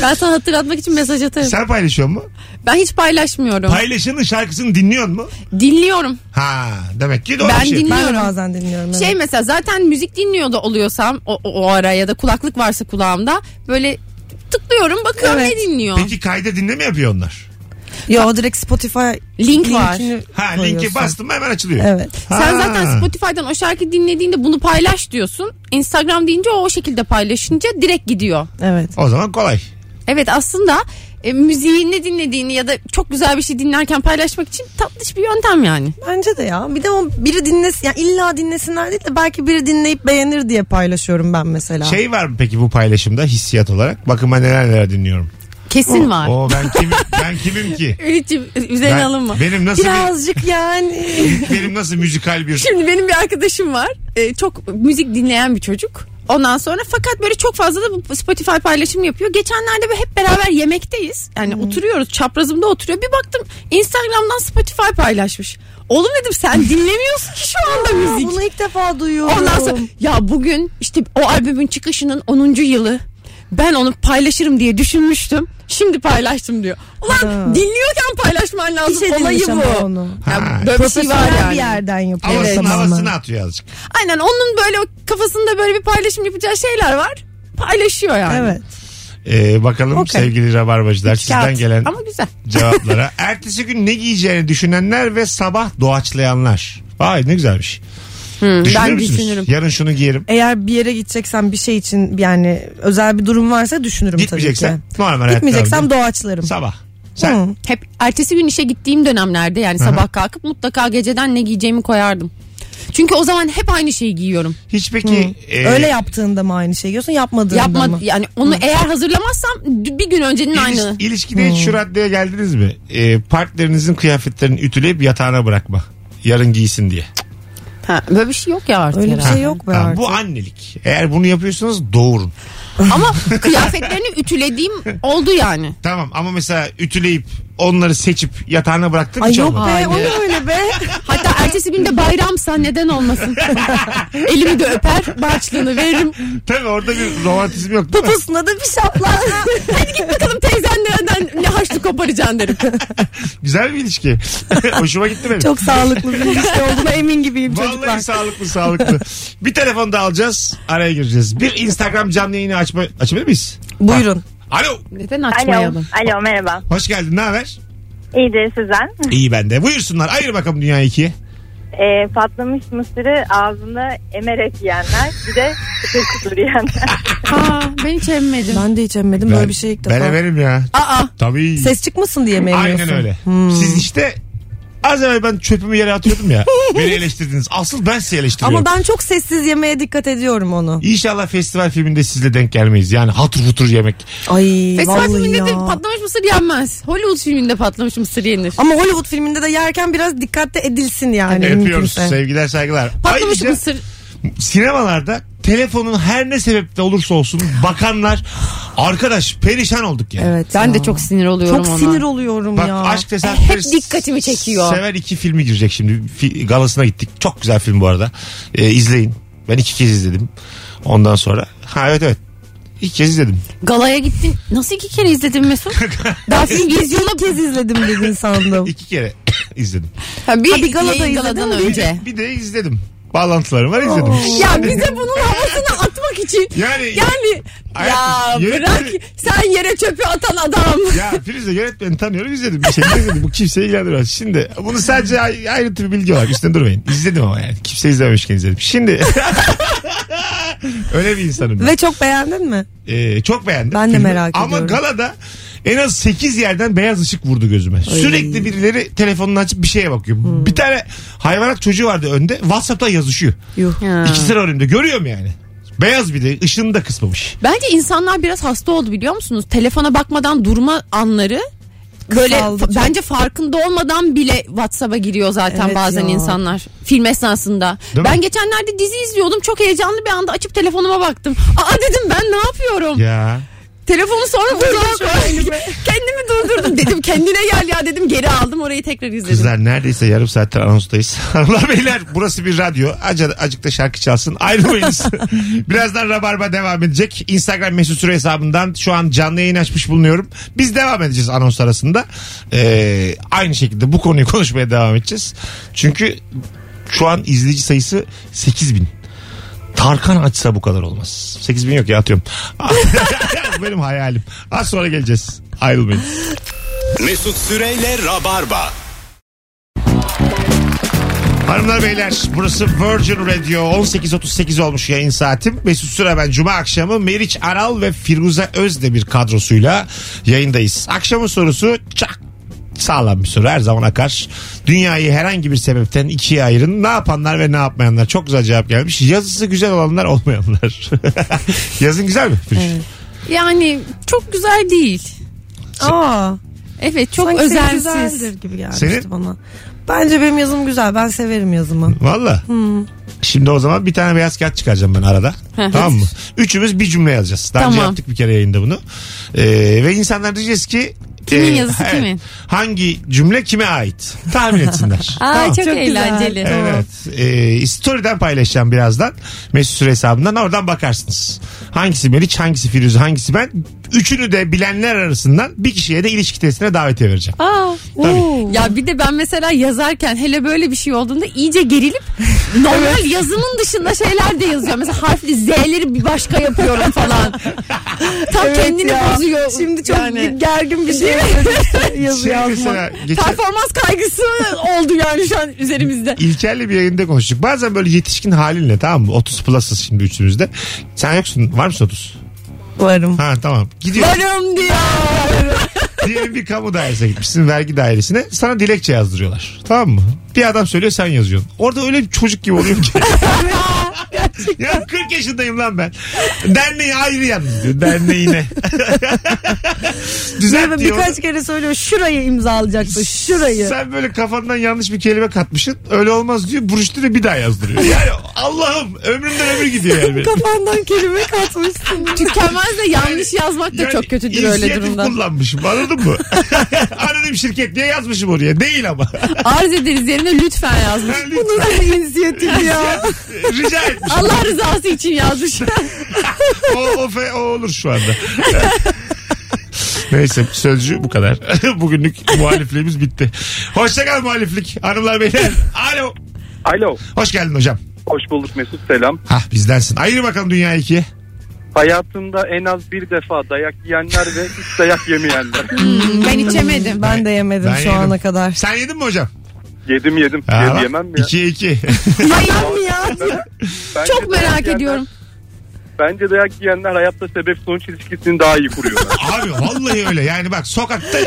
[SPEAKER 3] Ben sana hatırlatmak için mesaj atarım.
[SPEAKER 2] sen paylaşıyor mu?
[SPEAKER 3] Ben hiç paylaşmıyorum.
[SPEAKER 2] Paylaşanın şarkısını dinliyor mu?
[SPEAKER 3] Dinliyorum.
[SPEAKER 2] Ha demek ki doğru
[SPEAKER 3] Ben
[SPEAKER 2] bir şey.
[SPEAKER 3] dinliyorum.
[SPEAKER 4] Ben de bazen dinliyorum.
[SPEAKER 3] Şey
[SPEAKER 4] evet.
[SPEAKER 3] mesela zaten müzik dinliyor da oluyorsam o, o, o ara ya da kulaklık varsa kulağımda böyle tıklıyorum bakıyorum
[SPEAKER 4] Evet.
[SPEAKER 3] ne dinliyor.
[SPEAKER 2] Peki kayda dinle mi yapıyor onlar?
[SPEAKER 4] Yo direkt Spotify
[SPEAKER 3] Link var.
[SPEAKER 4] linkini
[SPEAKER 2] Ha linki
[SPEAKER 4] koyuyorsun.
[SPEAKER 2] bastım hemen açılıyor.
[SPEAKER 4] Evet.
[SPEAKER 2] Ha.
[SPEAKER 3] Sen zaten Spotify'dan o şarkı dinlediğinde bunu paylaş diyorsun. Instagram deyince o, o şekilde paylaşınca direkt gidiyor.
[SPEAKER 4] Evet.
[SPEAKER 2] O zaman kolay.
[SPEAKER 3] Evet aslında e, müziği ne dinlediğini ya da çok güzel bir şey dinlerken paylaşmak için tatlış bir yöntem yani.
[SPEAKER 4] Bence de ya. Bir de o biri dinlesin. Yani illa dinlesinler değil de belki biri dinleyip beğenir diye paylaşıyorum ben mesela.
[SPEAKER 2] Şey var mı peki bu paylaşımda hissiyat olarak? Bakın ben neler neler dinliyorum.
[SPEAKER 3] Kesin var.
[SPEAKER 2] O ben kimim, ben kimim ki?
[SPEAKER 3] Ümit'ciğim üzerine
[SPEAKER 2] Ben,
[SPEAKER 3] alınma.
[SPEAKER 2] benim nasıl bir,
[SPEAKER 4] Birazcık yani.
[SPEAKER 2] benim nasıl müzikal bir
[SPEAKER 3] Şimdi benim bir arkadaşım var. Ee, çok müzik dinleyen bir çocuk. Ondan sonra fakat böyle çok fazla da bu Spotify paylaşım yapıyor. Geçenlerde böyle hep beraber yemekteyiz. Yani
[SPEAKER 4] Hmm.
[SPEAKER 3] oturuyoruz çaprazımda oturuyor. Bir baktım Instagram'dan Spotify paylaşmış. Oğlum dedim sen dinlemiyorsun ki şu anda
[SPEAKER 4] Aa,
[SPEAKER 3] müzik.
[SPEAKER 4] bunu ilk defa duyuyorum.
[SPEAKER 3] Ondan sonra ya bugün işte o albümün çıkışının 10. yılı. Ben onu paylaşırım diye düşünmüştüm. Şimdi paylaştım diyor. Ulan
[SPEAKER 4] Ha.
[SPEAKER 3] dinliyorken paylaşman lazım.
[SPEAKER 4] İş edinmiş
[SPEAKER 3] Olayı
[SPEAKER 4] şey ama
[SPEAKER 3] bu.
[SPEAKER 4] onu.
[SPEAKER 3] Ya
[SPEAKER 2] Ha.
[SPEAKER 3] böyle bir şey var
[SPEAKER 4] Profesyonel
[SPEAKER 3] yani.
[SPEAKER 4] bir yerden yapıyor.
[SPEAKER 2] havasını,
[SPEAKER 4] tamamen.
[SPEAKER 2] havasını atıyor azıcık.
[SPEAKER 3] Aynen onun böyle o kafasında böyle bir paylaşım yapacağı şeyler var. Paylaşıyor yani.
[SPEAKER 4] Evet.
[SPEAKER 2] Ee, bakalım
[SPEAKER 4] Okey.
[SPEAKER 2] sevgili rabarbacılar sizden
[SPEAKER 3] Kağıt.
[SPEAKER 2] gelen
[SPEAKER 3] Ama güzel.
[SPEAKER 2] cevaplara. Ertesi gün ne giyeceğini düşünenler ve sabah doğaçlayanlar. Vay ne güzelmiş. Düşünüyor
[SPEAKER 3] ben
[SPEAKER 2] musunuz?
[SPEAKER 3] düşünürüm.
[SPEAKER 2] Yarın şunu giyerim.
[SPEAKER 4] Eğer bir yere gideceksen bir şey için yani özel bir durum varsa düşünürüm tabii ki.
[SPEAKER 2] Gitmeyeceksen normal hayatta
[SPEAKER 4] Gitmeyeceksem
[SPEAKER 2] öyle.
[SPEAKER 4] doğaçlarım.
[SPEAKER 2] sabah. Sen
[SPEAKER 4] Hı.
[SPEAKER 3] Hep ertesi gün işe gittiğim dönemlerde yani sabah kalkıp mutlaka geceden ne giyeceğimi koyardım. Çünkü o zaman hep aynı şeyi giyiyorum.
[SPEAKER 2] hiç peki e,
[SPEAKER 4] Öyle yaptığında mı aynı şey yiyorsun yapmadığında
[SPEAKER 3] Yapma
[SPEAKER 4] mı?
[SPEAKER 3] yani onu eğer hazırlamazsam d- bir gün öncenin
[SPEAKER 2] iliş-
[SPEAKER 3] aynı.
[SPEAKER 2] ilişkide hiç şu raddeye geldiniz mi? Ee, E, partnerinizin kıyafetlerini ütüleyip yatağına bırakma. Yarın giysin diye.
[SPEAKER 3] Ha, böyle bir şey yok ya artık
[SPEAKER 4] Öyle bir
[SPEAKER 3] herhalde.
[SPEAKER 4] şey yok be
[SPEAKER 2] Ha,
[SPEAKER 4] artık.
[SPEAKER 2] bu annelik. Eğer bunu yapıyorsanız doğurun.
[SPEAKER 3] Ama kıyafetlerini ütülediğim oldu yani.
[SPEAKER 2] Tamam ama mesela ütüleyip onları seçip yatağına bıraktım
[SPEAKER 4] Ay
[SPEAKER 2] hiç
[SPEAKER 4] yok be
[SPEAKER 2] olmadı.
[SPEAKER 4] o ne öyle be.
[SPEAKER 3] Hatta ertesi gün de bayramsa neden olmasın. Elimi de öper, başlığını veririm.
[SPEAKER 2] Tabii orada bir romantizm yok değil mi?
[SPEAKER 4] Poposuna da bir şapla.
[SPEAKER 3] Hadi git bakalım teyzen nereden ne haçlı koparacaksın derim.
[SPEAKER 2] Güzel bir ilişki. Hoşuma gitti benim.
[SPEAKER 4] Çok sağlıklı bir ilişki olduğuna emin gibiyim
[SPEAKER 2] Vallahi
[SPEAKER 4] çocuklar.
[SPEAKER 2] sağlıklı sağlıklı. bir telefon daha alacağız. Araya gireceğiz. Bir Instagram canlı yayını açma, açabilir miyiz?
[SPEAKER 4] Buyurun.
[SPEAKER 2] Ha. Alo.
[SPEAKER 3] Neden
[SPEAKER 7] Alo,
[SPEAKER 3] açmayalım?
[SPEAKER 7] alo merhaba.
[SPEAKER 2] Hoş geldin. Ne haber?
[SPEAKER 7] İyidir sizden.
[SPEAKER 2] İyi ben de. Buyursunlar. Ayır bakalım dünya ikiye.
[SPEAKER 7] Ee, patlamış mısırı ağzında emerek yiyenler bir de kıtır kıtır yiyenler.
[SPEAKER 3] Aa, ben hiç emmedim.
[SPEAKER 4] Ben de hiç emmedim böyle bir şey ilk defa.
[SPEAKER 2] Ben efendim ya.
[SPEAKER 3] Aa,
[SPEAKER 2] Tabii.
[SPEAKER 4] Ses Hmm. çıkmasın diye mi emiyorsun?
[SPEAKER 2] Aynen öyle. Siz işte az evvel ben çöpümü yere atıyordum ya. beni eleştirdiniz. Asıl ben sizi eleştiriyorum.
[SPEAKER 4] Ama ben çok sessiz yemeye dikkat ediyorum onu.
[SPEAKER 2] İnşallah festival filminde sizle denk gelmeyiz. Yani hatır hutur yemek.
[SPEAKER 4] Ay
[SPEAKER 3] festival
[SPEAKER 4] vallahi
[SPEAKER 3] E, filminde
[SPEAKER 4] ya.
[SPEAKER 3] de patlamış mısır yenmez. Hollywood filminde patlamış mısır yenir.
[SPEAKER 4] Ama Hollywood filminde de yerken biraz dikkatli edilsin yani
[SPEAKER 2] Öpüyoruz.
[SPEAKER 4] mümkünse.
[SPEAKER 2] Sevgiler saygılar.
[SPEAKER 3] Patlamış
[SPEAKER 2] Ayrıca
[SPEAKER 3] mısır.
[SPEAKER 2] sinemalarda telefonun her ne sebepte olursa olsun bakanlar arkadaş perişan olduk yani.
[SPEAKER 4] Evet.
[SPEAKER 3] Ben
[SPEAKER 4] ya.
[SPEAKER 3] de çok sinir oluyorum
[SPEAKER 4] çok
[SPEAKER 3] ona.
[SPEAKER 4] sinir oluyorum
[SPEAKER 2] Bak
[SPEAKER 4] ya.
[SPEAKER 2] aşk
[SPEAKER 3] Hep
[SPEAKER 2] tesadüfleri
[SPEAKER 3] dikkatimi çekiyor.
[SPEAKER 2] Sever iki filmi girecek şimdi. Fi- Galasına gittik. Çok güzel film bu arada. Ee, izleyin. Ben iki kez izledim. Ondan sonra. Ha evet evet. İki kez izledim.
[SPEAKER 3] Galaya gittin. Nasıl iki kere izledin Mesut? Daha film vizyona
[SPEAKER 4] İlk kez izledim dedin sandım.
[SPEAKER 2] İki kere izledim.
[SPEAKER 3] Ha, bir,
[SPEAKER 4] Ha, bir galada
[SPEAKER 3] galada yayın
[SPEAKER 4] izledin
[SPEAKER 3] galadan
[SPEAKER 4] mi?
[SPEAKER 3] önce.
[SPEAKER 2] Bir de izledim. Bağlantılarım var izledim.
[SPEAKER 3] Oh. Ya bize bunun havasını atmak için.
[SPEAKER 2] Yani,
[SPEAKER 3] Yani ya
[SPEAKER 2] Hayatım,
[SPEAKER 3] bırak
[SPEAKER 2] yönetmeni-
[SPEAKER 3] sen yere çöpü atan adam.
[SPEAKER 2] Ya Firuze yönetmeni tanıyorum izledim. Bir şey izlemedim. Bu kimseyi ilgilendirmez. Şimdi bunu sadece ay- ayrıntı bir bilgi olarak üstüne durmayın. İzledim ama yani. Kimse izlememişken izledim. Şimdi öyle bir insanım. ben.
[SPEAKER 4] Ve çok beğendin mi?
[SPEAKER 2] Ee, çok beğendim.
[SPEAKER 4] Ben de
[SPEAKER 2] filmi.
[SPEAKER 4] merak
[SPEAKER 2] Ama
[SPEAKER 4] ediyorum.
[SPEAKER 2] galada en az 8 yerden beyaz ışık vurdu gözüme. Sürekli birileri telefonunu açıp bir şeye bakıyor.
[SPEAKER 4] Hmm.
[SPEAKER 2] Bir tane hayvanat çocuğu vardı önde. Whatsapp'ta yazışıyor.
[SPEAKER 4] Yuh.
[SPEAKER 2] İki sıra önümde. Görüyorum yani. Beyaz bir de ışığını da kısmamış.
[SPEAKER 3] Bence insanlar biraz hasta oldu biliyor musunuz? Telefona bakmadan durma anları böyle
[SPEAKER 4] Kısaldı
[SPEAKER 3] fa-
[SPEAKER 4] çok.
[SPEAKER 3] bence farkında olmadan bile WhatsApp'a giriyor zaten
[SPEAKER 4] Evet
[SPEAKER 3] bazen
[SPEAKER 4] ya.
[SPEAKER 3] insanlar film esnasında.
[SPEAKER 2] Değil
[SPEAKER 3] ben
[SPEAKER 2] mi?
[SPEAKER 3] geçenlerde dizi izliyordum. Çok heyecanlı bir anda açıp telefonuma baktım. Aa dedim ben ne yapıyorum?
[SPEAKER 2] Ya.
[SPEAKER 3] Telefonu sonra uzağa koydum. Kendimi durdurdum dedim kendine gel ya dedim geri aldım orayı tekrar izledim.
[SPEAKER 2] Kızlar neredeyse yarım saattir anonstayız. Hanımlar beyler burası bir radyo. Acı, acık da şarkı çalsın. Ayrılmayınız. Birazdan Rabarba devam edecek. Instagram mesut süre hesabından şu an canlı yayın açmış bulunuyorum. Biz devam edeceğiz anons arasında. Ee, aynı şekilde bu konuyu konuşmaya devam edeceğiz. Çünkü şu an izleyici sayısı 8000 bin. Tarkan açsa bu kadar olmaz. 8000 bin yok ya atıyorum. Benim hayalim. Az sonra geleceğiz. Ayrılmayın.
[SPEAKER 1] Mesut Süreyle Rabarba.
[SPEAKER 2] Hanımlar beyler burası Virgin Radio 18.38 olmuş yayın saatim. Mesut Süre ben Cuma akşamı Meriç Aral ve Firuze Özde bir kadrosuyla yayındayız. Akşamın sorusu çak sağlam bir soru her zaman akar. Dünyayı herhangi bir sebepten ikiye ayırın. Ne yapanlar ve ne yapmayanlar. Çok güzel cevap gelmiş. Yazısı güzel olanlar olmayanlar. Yazın güzel mi? Firuze?
[SPEAKER 3] Yani çok güzel değil.
[SPEAKER 4] Aa,
[SPEAKER 3] Evet çok
[SPEAKER 4] Şey- sanki senin
[SPEAKER 3] özensiz.
[SPEAKER 4] güzeldir gibi gelmişti
[SPEAKER 2] Senin?
[SPEAKER 4] bana. Bence benim yazım güzel. Ben severim yazımı.
[SPEAKER 2] Valla. Şimdi o zaman bir tane beyaz kağıt çıkaracağım ben arada. tamam mı? Üçümüz bir cümle yazacağız. Daha önce
[SPEAKER 3] Tamam.
[SPEAKER 2] yaptık bir kere yayında bunu. Ee, ve insanlar diyeceğiz ki e,
[SPEAKER 3] Kimin yazısı kimin?
[SPEAKER 2] Hangi cümle kime ait? Tahmin etsinler.
[SPEAKER 3] Aa,
[SPEAKER 2] Tamam.
[SPEAKER 3] çok,
[SPEAKER 4] Çok güzel.
[SPEAKER 3] eğlenceli.
[SPEAKER 2] Evet. Ee, story'den paylaşacağım birazdan. Mesut Süre hesabından oradan bakarsınız. Hangisi Meriç, hangisi Firuze, hangisi ben. Üçünü de bilenler arasından bir kişiye de ilişki testine davetiye vereceğim.
[SPEAKER 3] Aa,
[SPEAKER 2] Tabii.
[SPEAKER 3] oo. Ya bir de ben mesela yazarken hele böyle bir şey olduğunda iyice gerilip normal yazımın dışında şeyler de yazıyorum. Mesela harfli Z'leri bir başka yapıyorum falan. Tam kendini bozuyor.
[SPEAKER 4] Şimdi çok
[SPEAKER 3] yani.
[SPEAKER 4] gergin bir şey yazı
[SPEAKER 2] Şey
[SPEAKER 4] yazmak.
[SPEAKER 2] mesela geçen-
[SPEAKER 3] Performans kaygısı oldu yani şu an üzerimizde.
[SPEAKER 2] İlker'le bir yayında konuştuk. Bazen böyle yetişkin halinle tamam mı? 30 plus'ız şimdi üçümüzde. Sen yoksun. Var mısın 30?
[SPEAKER 4] Varım.
[SPEAKER 2] Ha tamam. Gidiyor.
[SPEAKER 3] Varım diyor.
[SPEAKER 2] Diyelim bir kamu dairesine gitmişsin vergi dairesine. Sana dilekçe yazdırıyorlar. Tamam mı? Bir adam söylüyor sen yazıyorsun. Orada öyle bir çocuk gibi oluyorum ki. ya 40 yaşındayım lan ben. Derneği ayrı yalnız diyor. Derneğine. Düzelt
[SPEAKER 4] Ve
[SPEAKER 2] diyor.
[SPEAKER 4] birkaç kere söylüyor şurayı imzalayacaktı şurayı.
[SPEAKER 2] Sen böyle kafandan yanlış bir kelime katmışsın. Öyle olmaz diyor. Buruşturuyor bir daha yazdırıyor. Yani Allah'ım ömrümden ömür gidiyor yani. benim.
[SPEAKER 4] Kafandan kelime katmışsın.
[SPEAKER 3] Tükenmez de yanlış yazmak da
[SPEAKER 2] Yani
[SPEAKER 3] çok kötüdür öyle
[SPEAKER 2] inisiyatif
[SPEAKER 3] durumda.
[SPEAKER 2] kullanmışım anladın mı? Anonim şirket diye yazmışım oraya. Değil ama.
[SPEAKER 3] Arz ederiz yerine lütfen yazmış.
[SPEAKER 2] Lütfen.
[SPEAKER 3] Bunu da inisiyatif ya.
[SPEAKER 2] Rica etmişim.
[SPEAKER 3] Allah rızası için yazmış.
[SPEAKER 2] o, o, fe- o olur şu anda. Neyse sözcü bu kadar. Bugünlük muhalifliğimiz bitti. Hoşçakal muhaliflik hanımlar beyler. Alo.
[SPEAKER 5] Alo.
[SPEAKER 2] Hoş geldin hocam.
[SPEAKER 5] Hoş bulduk Mesut selam.
[SPEAKER 2] Hah bizdensin. Ayır bakalım dünya ikiye.
[SPEAKER 5] Hayatımda en az bir defa dayak yiyenler ve hiç dayak yemeyenler.
[SPEAKER 3] ben içemedim.
[SPEAKER 4] Ben de yemedim
[SPEAKER 2] Ben
[SPEAKER 4] şu
[SPEAKER 2] yedim.
[SPEAKER 4] ana kadar.
[SPEAKER 2] Sen yedin mi hocam?
[SPEAKER 5] yedim yedim.
[SPEAKER 2] Aa,
[SPEAKER 5] Yedi yemem ya.
[SPEAKER 2] İkiye iki.
[SPEAKER 4] Yayan mı ya?
[SPEAKER 5] Bence
[SPEAKER 3] Çok
[SPEAKER 5] dayak
[SPEAKER 3] merak
[SPEAKER 5] yiyenler-
[SPEAKER 3] ediyorum.
[SPEAKER 5] Bence dayak yiyenler hayatta sebep sonuç ilişkisini daha iyi kuruyorlar.
[SPEAKER 2] Abi vallahi öyle. Yani bak sokakta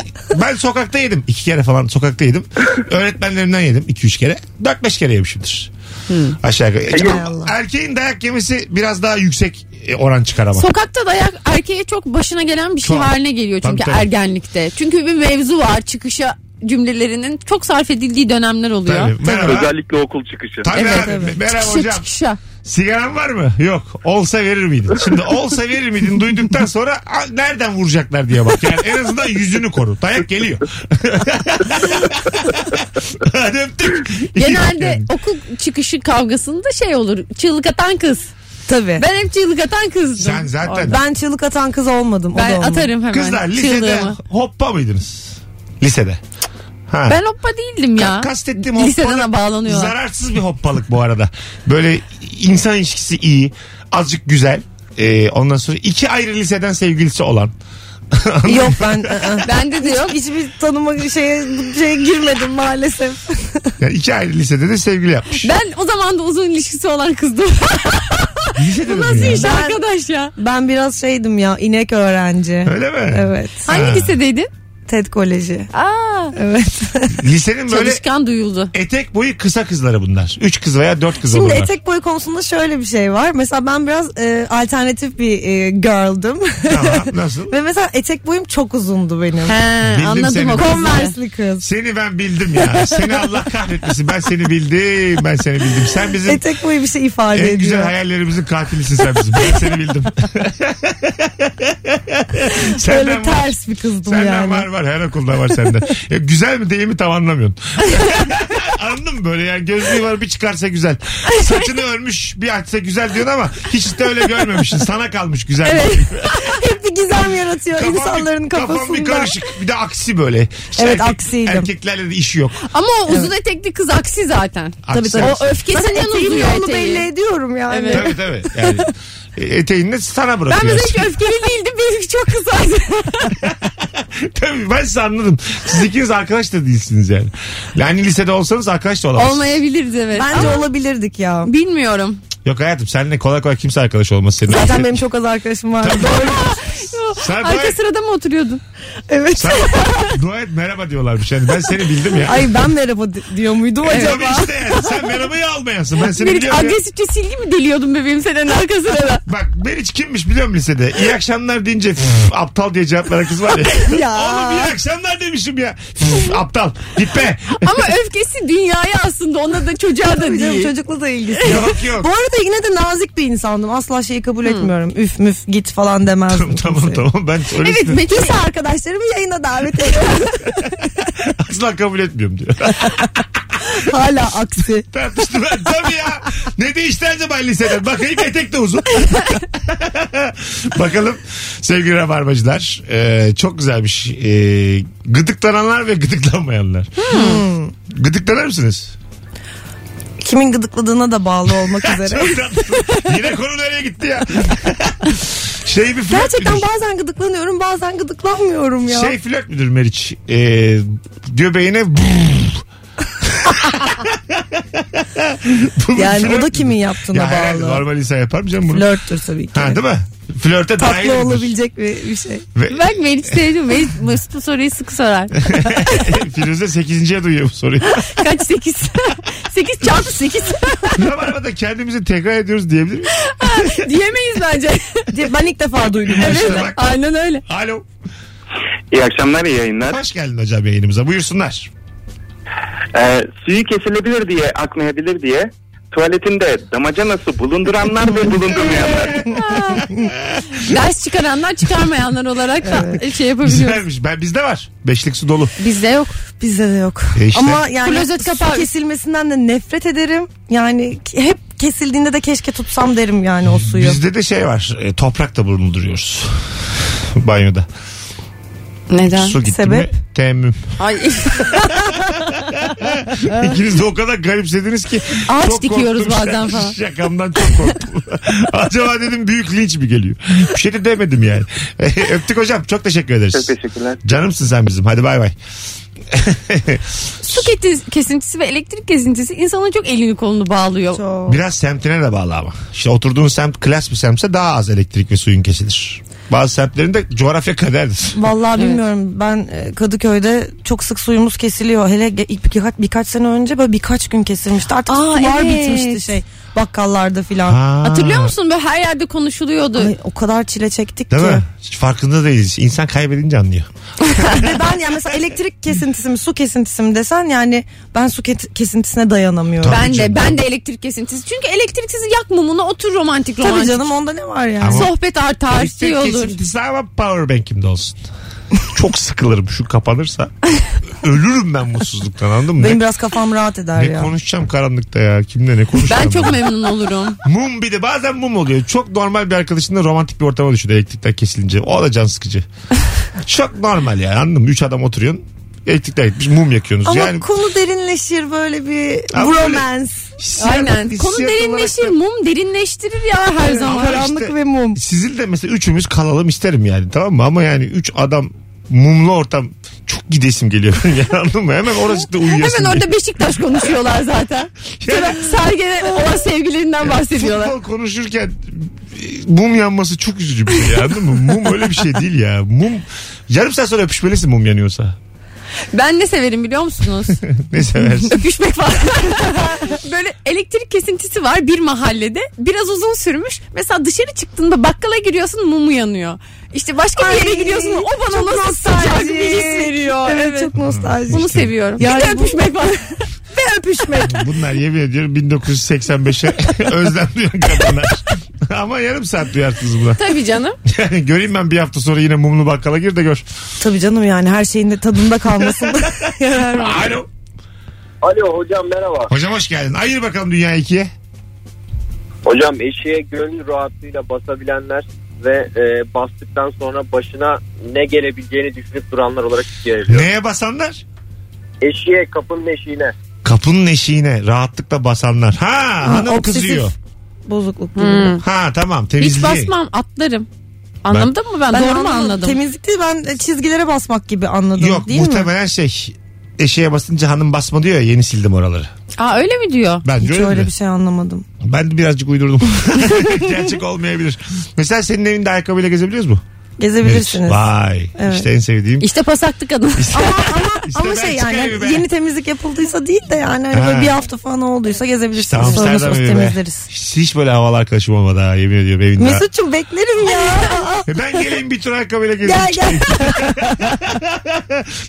[SPEAKER 2] ben sokakta yedim. iki kere falan sokakta yedim. Öğretmenlerimden yedim. iki üç kere. Dört beş kere yemişimdir.
[SPEAKER 4] Hmm.
[SPEAKER 2] Aşağı yukarı.
[SPEAKER 4] Hay Allah.
[SPEAKER 2] Erkeğin dayak yemesi biraz daha yüksek e, oran çıkar ama.
[SPEAKER 3] Sokakta dayak erkeğe çok başına gelen bir şey
[SPEAKER 2] Çok.
[SPEAKER 3] haline geliyor çünkü
[SPEAKER 2] Tabii, tabii.
[SPEAKER 3] ergenlikte. Çünkü bir mevzu var çıkışa cümlelerinin çok sarf edildiği dönemler oluyor.
[SPEAKER 2] Tabii. Merhaba.
[SPEAKER 5] Özellikle okul çıkışı.
[SPEAKER 2] Tabii
[SPEAKER 3] Evet,
[SPEAKER 2] abi.
[SPEAKER 4] evet.
[SPEAKER 2] Merhaba
[SPEAKER 3] Çıkışa
[SPEAKER 2] hocam.
[SPEAKER 3] çıkışa.
[SPEAKER 2] Sigaran var mı? Yok. Olsa verir miydin? Şimdi olsa verir miydin duyduktan sonra "A, nereden vuracaklar diye bak. Yani en azından yüzünü koru. Dayak geliyor. Hadi öptük. İyi bak
[SPEAKER 3] Genelde
[SPEAKER 2] kendine.
[SPEAKER 3] okul çıkışı kavgasında şey olur. Çığlık atan kız.
[SPEAKER 4] Tabii. Ben,
[SPEAKER 3] Ben hep çığlık atan kızdım.
[SPEAKER 2] Sen zaten
[SPEAKER 4] çığlık atan kız olmadım. O da
[SPEAKER 3] Ben
[SPEAKER 4] olmadı.
[SPEAKER 3] atarım hemen.
[SPEAKER 2] kızlar lisede
[SPEAKER 3] çığlığımı.
[SPEAKER 2] hoppa mıydınız? Lisede. Ha.
[SPEAKER 3] Ben hoppa değildim ya.
[SPEAKER 2] kastettiğim
[SPEAKER 3] Liseden
[SPEAKER 2] hoppalık
[SPEAKER 3] bağlanıyorlar.
[SPEAKER 2] zararsız bir hoppalık bu arada. Böyle insan ilişkisi iyi, azıcık güzel. Ee, ondan sonra iki ayrı liseden sevgilisi olan.
[SPEAKER 4] Yok ben. ı, ı.
[SPEAKER 3] Bende de yok.
[SPEAKER 4] Hiçbir tanıma şeye, şeye girmedim maalesef.
[SPEAKER 2] Yani iki ayrı lisede de sevgili yapmış.
[SPEAKER 3] Ben o zaman da uzun ilişkisi olan kızdım.
[SPEAKER 2] Lisede de mi
[SPEAKER 3] Nasıl
[SPEAKER 2] ya?
[SPEAKER 3] iş
[SPEAKER 4] Ben-
[SPEAKER 3] arkadaş ya?
[SPEAKER 4] Ben biraz şeydim ya inek öğrenci.
[SPEAKER 2] Öyle mi?
[SPEAKER 4] Evet.
[SPEAKER 2] Ha.
[SPEAKER 3] Hangi lisedeydin?
[SPEAKER 4] TED Koleji.
[SPEAKER 3] Aa,
[SPEAKER 4] Evet.
[SPEAKER 2] Lisenin böyle
[SPEAKER 3] çalışkan duyuldu.
[SPEAKER 2] etek boyu kısa kızları bunlar. Üç kız veya dört kız
[SPEAKER 4] Şimdi
[SPEAKER 2] olurlar.
[SPEAKER 4] etek boyu konusunda şöyle bir şey var. Mesela ben biraz e, alternatif bir e, girl'dım.
[SPEAKER 2] Tamam nasıl?
[SPEAKER 4] Ve mesela etek boyum çok uzundu benim.
[SPEAKER 3] He,
[SPEAKER 2] Bildim
[SPEAKER 3] anladım
[SPEAKER 2] seni.
[SPEAKER 3] o kızı.
[SPEAKER 4] Converse'li kız.
[SPEAKER 2] Seni ben bildim ya. Seni Allah kahretmesin. Ben seni bildim. Ben seni bildim. Sen bizim
[SPEAKER 4] Etek boyu bir şey ifade
[SPEAKER 2] en
[SPEAKER 4] ediyor.
[SPEAKER 2] güzel hayallerimizin katilisin sen bizim. Ben seni bildim.
[SPEAKER 4] Böyle
[SPEAKER 2] Senden var.
[SPEAKER 4] ters bir kızdım
[SPEAKER 2] Senden
[SPEAKER 4] yani.
[SPEAKER 2] var var her okulda var sende. Ya güzel mi değil mi tam anlamıyorsun. Anladın mı böyle yani gözlüğü var bir çıkarsa güzel. Saçını örmüş bir açsa güzel diyorsun ama hiç de öyle görmemişsin. Sana kalmış güzel.
[SPEAKER 4] Hep bir gizem yaratıyor
[SPEAKER 2] Kafam bir-
[SPEAKER 4] insanların kafasında.
[SPEAKER 2] Kafam bir karışık. Bir de aksi böyle. İşte
[SPEAKER 4] Evet, aksiydim.
[SPEAKER 2] Erkeklerle de işi yok.
[SPEAKER 3] Ama o uzun etekli kız aksi zaten.
[SPEAKER 2] Aksi,
[SPEAKER 4] tabii.
[SPEAKER 2] aksi.
[SPEAKER 3] O öfkesinden
[SPEAKER 4] Zaten eteğimin
[SPEAKER 3] uzuyor
[SPEAKER 4] yolunu
[SPEAKER 3] eteği.
[SPEAKER 4] belli ediyorum yani.
[SPEAKER 2] Tabii
[SPEAKER 3] Evet.
[SPEAKER 2] tabii. Yani, e, eteğini de sana
[SPEAKER 3] Ben
[SPEAKER 2] bırakıyor.
[SPEAKER 3] mesela hiç öfkeli değildim. Benimki çok kısaydı.
[SPEAKER 2] Tabii ben sizi anladım. Siz ikiniz arkadaş da değilsiniz yani. Yani hani lisede olsanız arkadaş da olamazsınız.
[SPEAKER 3] Olmayabiliriz evet.
[SPEAKER 4] Bence olabilirdik ya.
[SPEAKER 3] Bilmiyorum.
[SPEAKER 2] Yok hayatım seninle kolay kolay kimse arkadaş olmaz senin.
[SPEAKER 4] Zaten benim çok az arkadaşım var. Doğru.
[SPEAKER 2] Sen
[SPEAKER 3] Arka
[SPEAKER 2] dua et,
[SPEAKER 3] sırada mı oturuyordun?
[SPEAKER 4] Evet.
[SPEAKER 2] sen dua et merhaba diyorlarmış. Yani ben seni bildim ya.
[SPEAKER 4] Ay ben merhaba di- diyor muydum
[SPEAKER 2] E,
[SPEAKER 4] acaba?
[SPEAKER 2] tabii işte yani. Sen merhabayı almayasın. Ben seni
[SPEAKER 3] Bir
[SPEAKER 2] biliyorum ya.
[SPEAKER 3] agresifçe silgi mi deliyordun bebeğim senin arka sırada?
[SPEAKER 2] Bak Meriç kimmiş biliyor musun lisede? İyi akşamlar deyince "Üf, aptal diye cevap veren kız var ya.
[SPEAKER 4] Ya.
[SPEAKER 2] Oğlum iyi akşamlar demişim ya. Üf, aptal git be.
[SPEAKER 3] Ama öfkesi dünyaya aslında ona da çocuğa da
[SPEAKER 4] Tabii canım,
[SPEAKER 3] değil.
[SPEAKER 4] Çocukla da ilgisi yok.
[SPEAKER 2] Yok yok.
[SPEAKER 4] Bu arada yine de nazik bir insandım. Asla şeyi kabul etmiyorum. Üf müf git falan demezdim.
[SPEAKER 2] tamam
[SPEAKER 4] kimseye.
[SPEAKER 2] tamam ben
[SPEAKER 3] Evet
[SPEAKER 2] öylesine
[SPEAKER 3] Metin
[SPEAKER 4] Lise arkadaşlarımı yayına davet ediyorum.
[SPEAKER 2] asla kabul etmiyorum diyor.
[SPEAKER 4] Hala aksi.
[SPEAKER 2] Tartıştı ben. Tabii ya. Ne değişti acaba liseden? Bakayım etek de uzun. Bakalım sevgili rabarbacılar. Ee, çok güzelmiş. Ee, gıdıklananlar ve gıdıklanmayanlar.
[SPEAKER 4] Hmm.
[SPEAKER 2] Gıdıklanır mısınız?
[SPEAKER 4] Kimin gıdıkladığına da bağlı olmak üzere.
[SPEAKER 2] Çok tatlı. Yine konu nereye gitti ya? şey bir flört
[SPEAKER 4] Gerçekten
[SPEAKER 2] müdür?
[SPEAKER 4] bazen gıdıklanıyorum bazen gıdıklanmıyorum ya.
[SPEAKER 2] Şey flört müdür Meriç? Ee, göbeğine brrr. Bu bir
[SPEAKER 4] yani o
[SPEAKER 2] flört
[SPEAKER 4] da
[SPEAKER 2] müdür?
[SPEAKER 4] kimin yaptığına
[SPEAKER 2] ya herhalde
[SPEAKER 4] bağlı.
[SPEAKER 2] normal insan yapar mı canım bunu?
[SPEAKER 4] Flörttür tabii ki.
[SPEAKER 2] Ha değil mi? Flörte dahil
[SPEAKER 4] Tatlı
[SPEAKER 2] edilir.
[SPEAKER 4] olabilecek bir, bir şey.
[SPEAKER 2] Ve
[SPEAKER 3] Bak Meriç sevdim. Meriç Mesut bu soruyu sık sorar.
[SPEAKER 2] Firuze 8. duyuyor bu soruyu.
[SPEAKER 3] Kaç sekiz? 8 çarpı 8
[SPEAKER 2] Rabarba'da kendimizi tekrar ediyoruz diyebilir miyiz?
[SPEAKER 3] diyemeyiz bence.
[SPEAKER 4] Ben ilk defa duydum.
[SPEAKER 3] evet,
[SPEAKER 2] İşte bak.
[SPEAKER 3] aynen öyle.
[SPEAKER 2] Alo.
[SPEAKER 8] İyi akşamlar, iyi yayınlar.
[SPEAKER 2] Hoş geldin hocam yayınımıza. Buyursunlar.
[SPEAKER 8] Ee, suyu kesilebilir diye, akmayabilir diye tuvaletinde damacanası bulunduranlar ve bulundurmayanlar.
[SPEAKER 3] Ders çıkaranlar çıkarmayanlar olarak da şey yapabiliyoruz.
[SPEAKER 2] Güzelmiş. Ben bizde var. Beşlik su dolu.
[SPEAKER 3] Bizde yok.
[SPEAKER 4] Bizde de yok.
[SPEAKER 2] E işte.
[SPEAKER 4] Ama yani
[SPEAKER 3] Klozet
[SPEAKER 4] su
[SPEAKER 3] kapağı-
[SPEAKER 4] kesilmesinden de nefret ederim. Yani ki- hep kesildiğinde de keşke tutsam derim yani o suyu.
[SPEAKER 2] Bizde de şey var. e, toprak da bulunduruyoruz. Banyoda.
[SPEAKER 3] Neden?
[SPEAKER 2] Su gitti
[SPEAKER 4] sebep?
[SPEAKER 2] mi? Temmüm.
[SPEAKER 3] Ay
[SPEAKER 2] İkiniz de o kadar garipsediniz ki.
[SPEAKER 3] Ağaç
[SPEAKER 2] çok
[SPEAKER 3] dikiyoruz
[SPEAKER 2] korktum.
[SPEAKER 3] bazen falan.
[SPEAKER 2] Şakamdan çok korktum. Acaba dedim büyük linç mi geliyor? Bir şey de demedim yani. E, Öptük hocam. Çok teşekkür ederiz.
[SPEAKER 8] Çok teşekkürler.
[SPEAKER 2] Canımsın sen bizim. Hadi bay bay.
[SPEAKER 3] su keti- kesintisi ve elektrik kesintisi insanın çok elini kolunu bağlıyor.
[SPEAKER 4] Çok.
[SPEAKER 2] Biraz semtine de bağlı ama. İşte oturduğun semt klas bir semtse daha az elektrik ve suyun kesilir. Bazı semtlerinde coğrafya kaderdir.
[SPEAKER 4] Vallahi
[SPEAKER 3] Evet.
[SPEAKER 4] bilmiyorum ben e, Kadıköy'de çok sık suyumuz kesiliyor. Hele ge- ilk birkaç, birkaç sene önce böyle birkaç gün kesilmişti. Artık
[SPEAKER 3] Aa,
[SPEAKER 4] sular
[SPEAKER 3] evet.
[SPEAKER 4] bitmişti şey bakkallarda filan.
[SPEAKER 2] Ha.
[SPEAKER 3] Hatırlıyor musun? Böyle her yerde konuşuluyordu.
[SPEAKER 4] Ay, o kadar çile çektik
[SPEAKER 2] Değil
[SPEAKER 4] ki.
[SPEAKER 2] mi? Hiç farkında değiliz. İnsan kaybedince anlıyor.
[SPEAKER 4] Ve ben yani mesela elektrik kesintisi mi su kesintisi mi desen yani ben su ke- kesintisine dayanamıyorum.
[SPEAKER 2] Tabii.
[SPEAKER 4] Tabii,
[SPEAKER 3] Ben
[SPEAKER 2] canım.
[SPEAKER 3] de ben de elektrik kesintisi. Çünkü elektriksiz yak mumunu otur romantik romantik.
[SPEAKER 4] canım onda ne var yani.
[SPEAKER 2] Ama-
[SPEAKER 3] Sohbet artar, şey
[SPEAKER 2] Elektrik
[SPEAKER 3] olur.
[SPEAKER 2] kesintisi ama powerbank'imde olsun. Çok sıkılırım şu kapanırsa. Ölürüm ben mutsuzluktan anladın mı?
[SPEAKER 4] Benim
[SPEAKER 2] ne,
[SPEAKER 4] biraz kafam rahat eder
[SPEAKER 2] ne
[SPEAKER 4] ya.
[SPEAKER 2] konuşacağım karanlıkta ya? Kimle ne konuşacağım?
[SPEAKER 3] Ben çok memnun olurum.
[SPEAKER 2] Mum bir de bazen mum oluyor. Çok normal bir arkadaşınla romantik bir ortama düşün elektrikler kesilince. O da can sıkıcı. çok normal yani anladın mı? Üç adam oturuyorsun. Elektrikler gitmiş mum yakıyorsunuz.
[SPEAKER 4] Ama
[SPEAKER 2] yani
[SPEAKER 4] konu derinleşir böyle bir
[SPEAKER 2] Ama böyle-
[SPEAKER 4] romance.
[SPEAKER 2] hissiyat-
[SPEAKER 3] Aynen.
[SPEAKER 2] hissiyat
[SPEAKER 3] Konu
[SPEAKER 2] olarak şey da-
[SPEAKER 3] derinleşir, mum derinleştirir ya her zaman.
[SPEAKER 4] Karanlık ve mum.
[SPEAKER 2] Sizin de mesela üçümüz kalalım isterim yani tamam mı? Ama yani üç adam mumlu ortam çok gidesim geliyor. yani anladın mı? Hemen orası da uyuyasın.
[SPEAKER 3] Hemen
[SPEAKER 2] geliyor.
[SPEAKER 3] orada Beşiktaş konuşuyorlar zaten. Sonra Sergen'e olan sevgilerinden bahsediyorlar.
[SPEAKER 2] Futbol konuşurken e, mum yanması çok üzücü bir şey ya, anladın mı? Mum öyle bir şey değil ya. Mum yarım saat sonra öpüşmelisin mum yanıyorsa.
[SPEAKER 3] Ben ne severim biliyor musunuz?
[SPEAKER 2] Ne seversin?
[SPEAKER 3] Öpüşmek falan. Böyle elektrik kesintisi var bir mahallede. Biraz uzun sürmüş. Mesela dışarı çıktığında bakkala giriyorsun mumu yanıyor. İşte başka bir yere
[SPEAKER 4] Ay,
[SPEAKER 3] gidiyorsun o bana
[SPEAKER 4] çok
[SPEAKER 3] nasıl
[SPEAKER 4] nostaljik.
[SPEAKER 3] sıcak bir his veriyor.
[SPEAKER 4] Evet,
[SPEAKER 3] Evet,
[SPEAKER 4] çok nostaljik.
[SPEAKER 3] Bunu
[SPEAKER 2] İşte.
[SPEAKER 3] seviyorum.
[SPEAKER 4] Yani
[SPEAKER 3] bir de
[SPEAKER 4] bu-
[SPEAKER 3] öpüşmek var. Ve öpüşmek.
[SPEAKER 2] Bunlar yemin ediyorum 1985'e özlem duyan kadınlar. Ama yarım saat duyarsınız buna.
[SPEAKER 3] Tabii canım.
[SPEAKER 2] Yani göreyim ben bir hafta sonra yine mumlu bakkala gir de gör.
[SPEAKER 4] Tabii canım yani her şeyin de tadında kalmasında yarar var.
[SPEAKER 2] Alo.
[SPEAKER 6] Alo hocam merhaba.
[SPEAKER 2] Hocam hoş geldin. Ayır bakalım dünya ikiye.
[SPEAKER 6] Hocam eşeğe gönül rahatlığıyla basabilenler ve e, bastıktan sonra başına ne gelebileceğini düşünüp duranlar olarak ikiye ayrılıyor.
[SPEAKER 2] Neye basanlar?
[SPEAKER 6] Eşiğe kapının eşiğine.
[SPEAKER 2] Kapının eşiğine rahatlıkla basanlar. Ha, hanım
[SPEAKER 4] obsesif.
[SPEAKER 2] kızıyor.
[SPEAKER 4] Bozukluk.
[SPEAKER 3] Hmm.
[SPEAKER 2] Ha tamam
[SPEAKER 3] Hiç
[SPEAKER 2] temizliği.
[SPEAKER 3] basmam atlarım. Anladın mı ben?
[SPEAKER 4] Ben
[SPEAKER 3] Doğru mu anladım?
[SPEAKER 4] Temizlikte ben çizgilere basmak gibi anladım
[SPEAKER 2] Yok
[SPEAKER 4] değil mi?
[SPEAKER 2] muhtemelen şey eşeğe basınca hanım basma diyor ya yeni sildim oraları.
[SPEAKER 3] Aa öyle mi diyor?
[SPEAKER 2] Bence
[SPEAKER 4] Hiç
[SPEAKER 2] öyle,
[SPEAKER 4] öyle
[SPEAKER 2] mi?
[SPEAKER 4] bir şey anlamadım.
[SPEAKER 2] Ben de birazcık uydurdum. Gerçek olmayabilir. Mesela senin evinde ayakkabıyla gezebiliyoruz mu?
[SPEAKER 4] Gezebilirsiniz.
[SPEAKER 2] Evet. Vay
[SPEAKER 4] Evet.
[SPEAKER 2] işte en sevdiğim.
[SPEAKER 3] İşte pasaklı kadın.
[SPEAKER 4] ama ama,
[SPEAKER 2] İşte
[SPEAKER 4] ama
[SPEAKER 2] ben
[SPEAKER 4] şey yani
[SPEAKER 2] çıkayım be.
[SPEAKER 4] yeni temizlik yapıldıysa değil de yani hani
[SPEAKER 2] Ha.
[SPEAKER 4] böyle bir hafta falan olduysa
[SPEAKER 2] İşte
[SPEAKER 4] gezebilirsiniz. Sonra
[SPEAKER 2] Amsterdam
[SPEAKER 4] sorunsuz
[SPEAKER 2] evi be.
[SPEAKER 4] temizleriz.
[SPEAKER 2] Hiç, hiç böyle havalı arkadaşım olmadı ha yemin ediyorum evinde.
[SPEAKER 4] Mesut'cum beklerim ya.
[SPEAKER 2] E Ben geleyim bir tur ayakkabıyla gezeyim.
[SPEAKER 4] gel gel.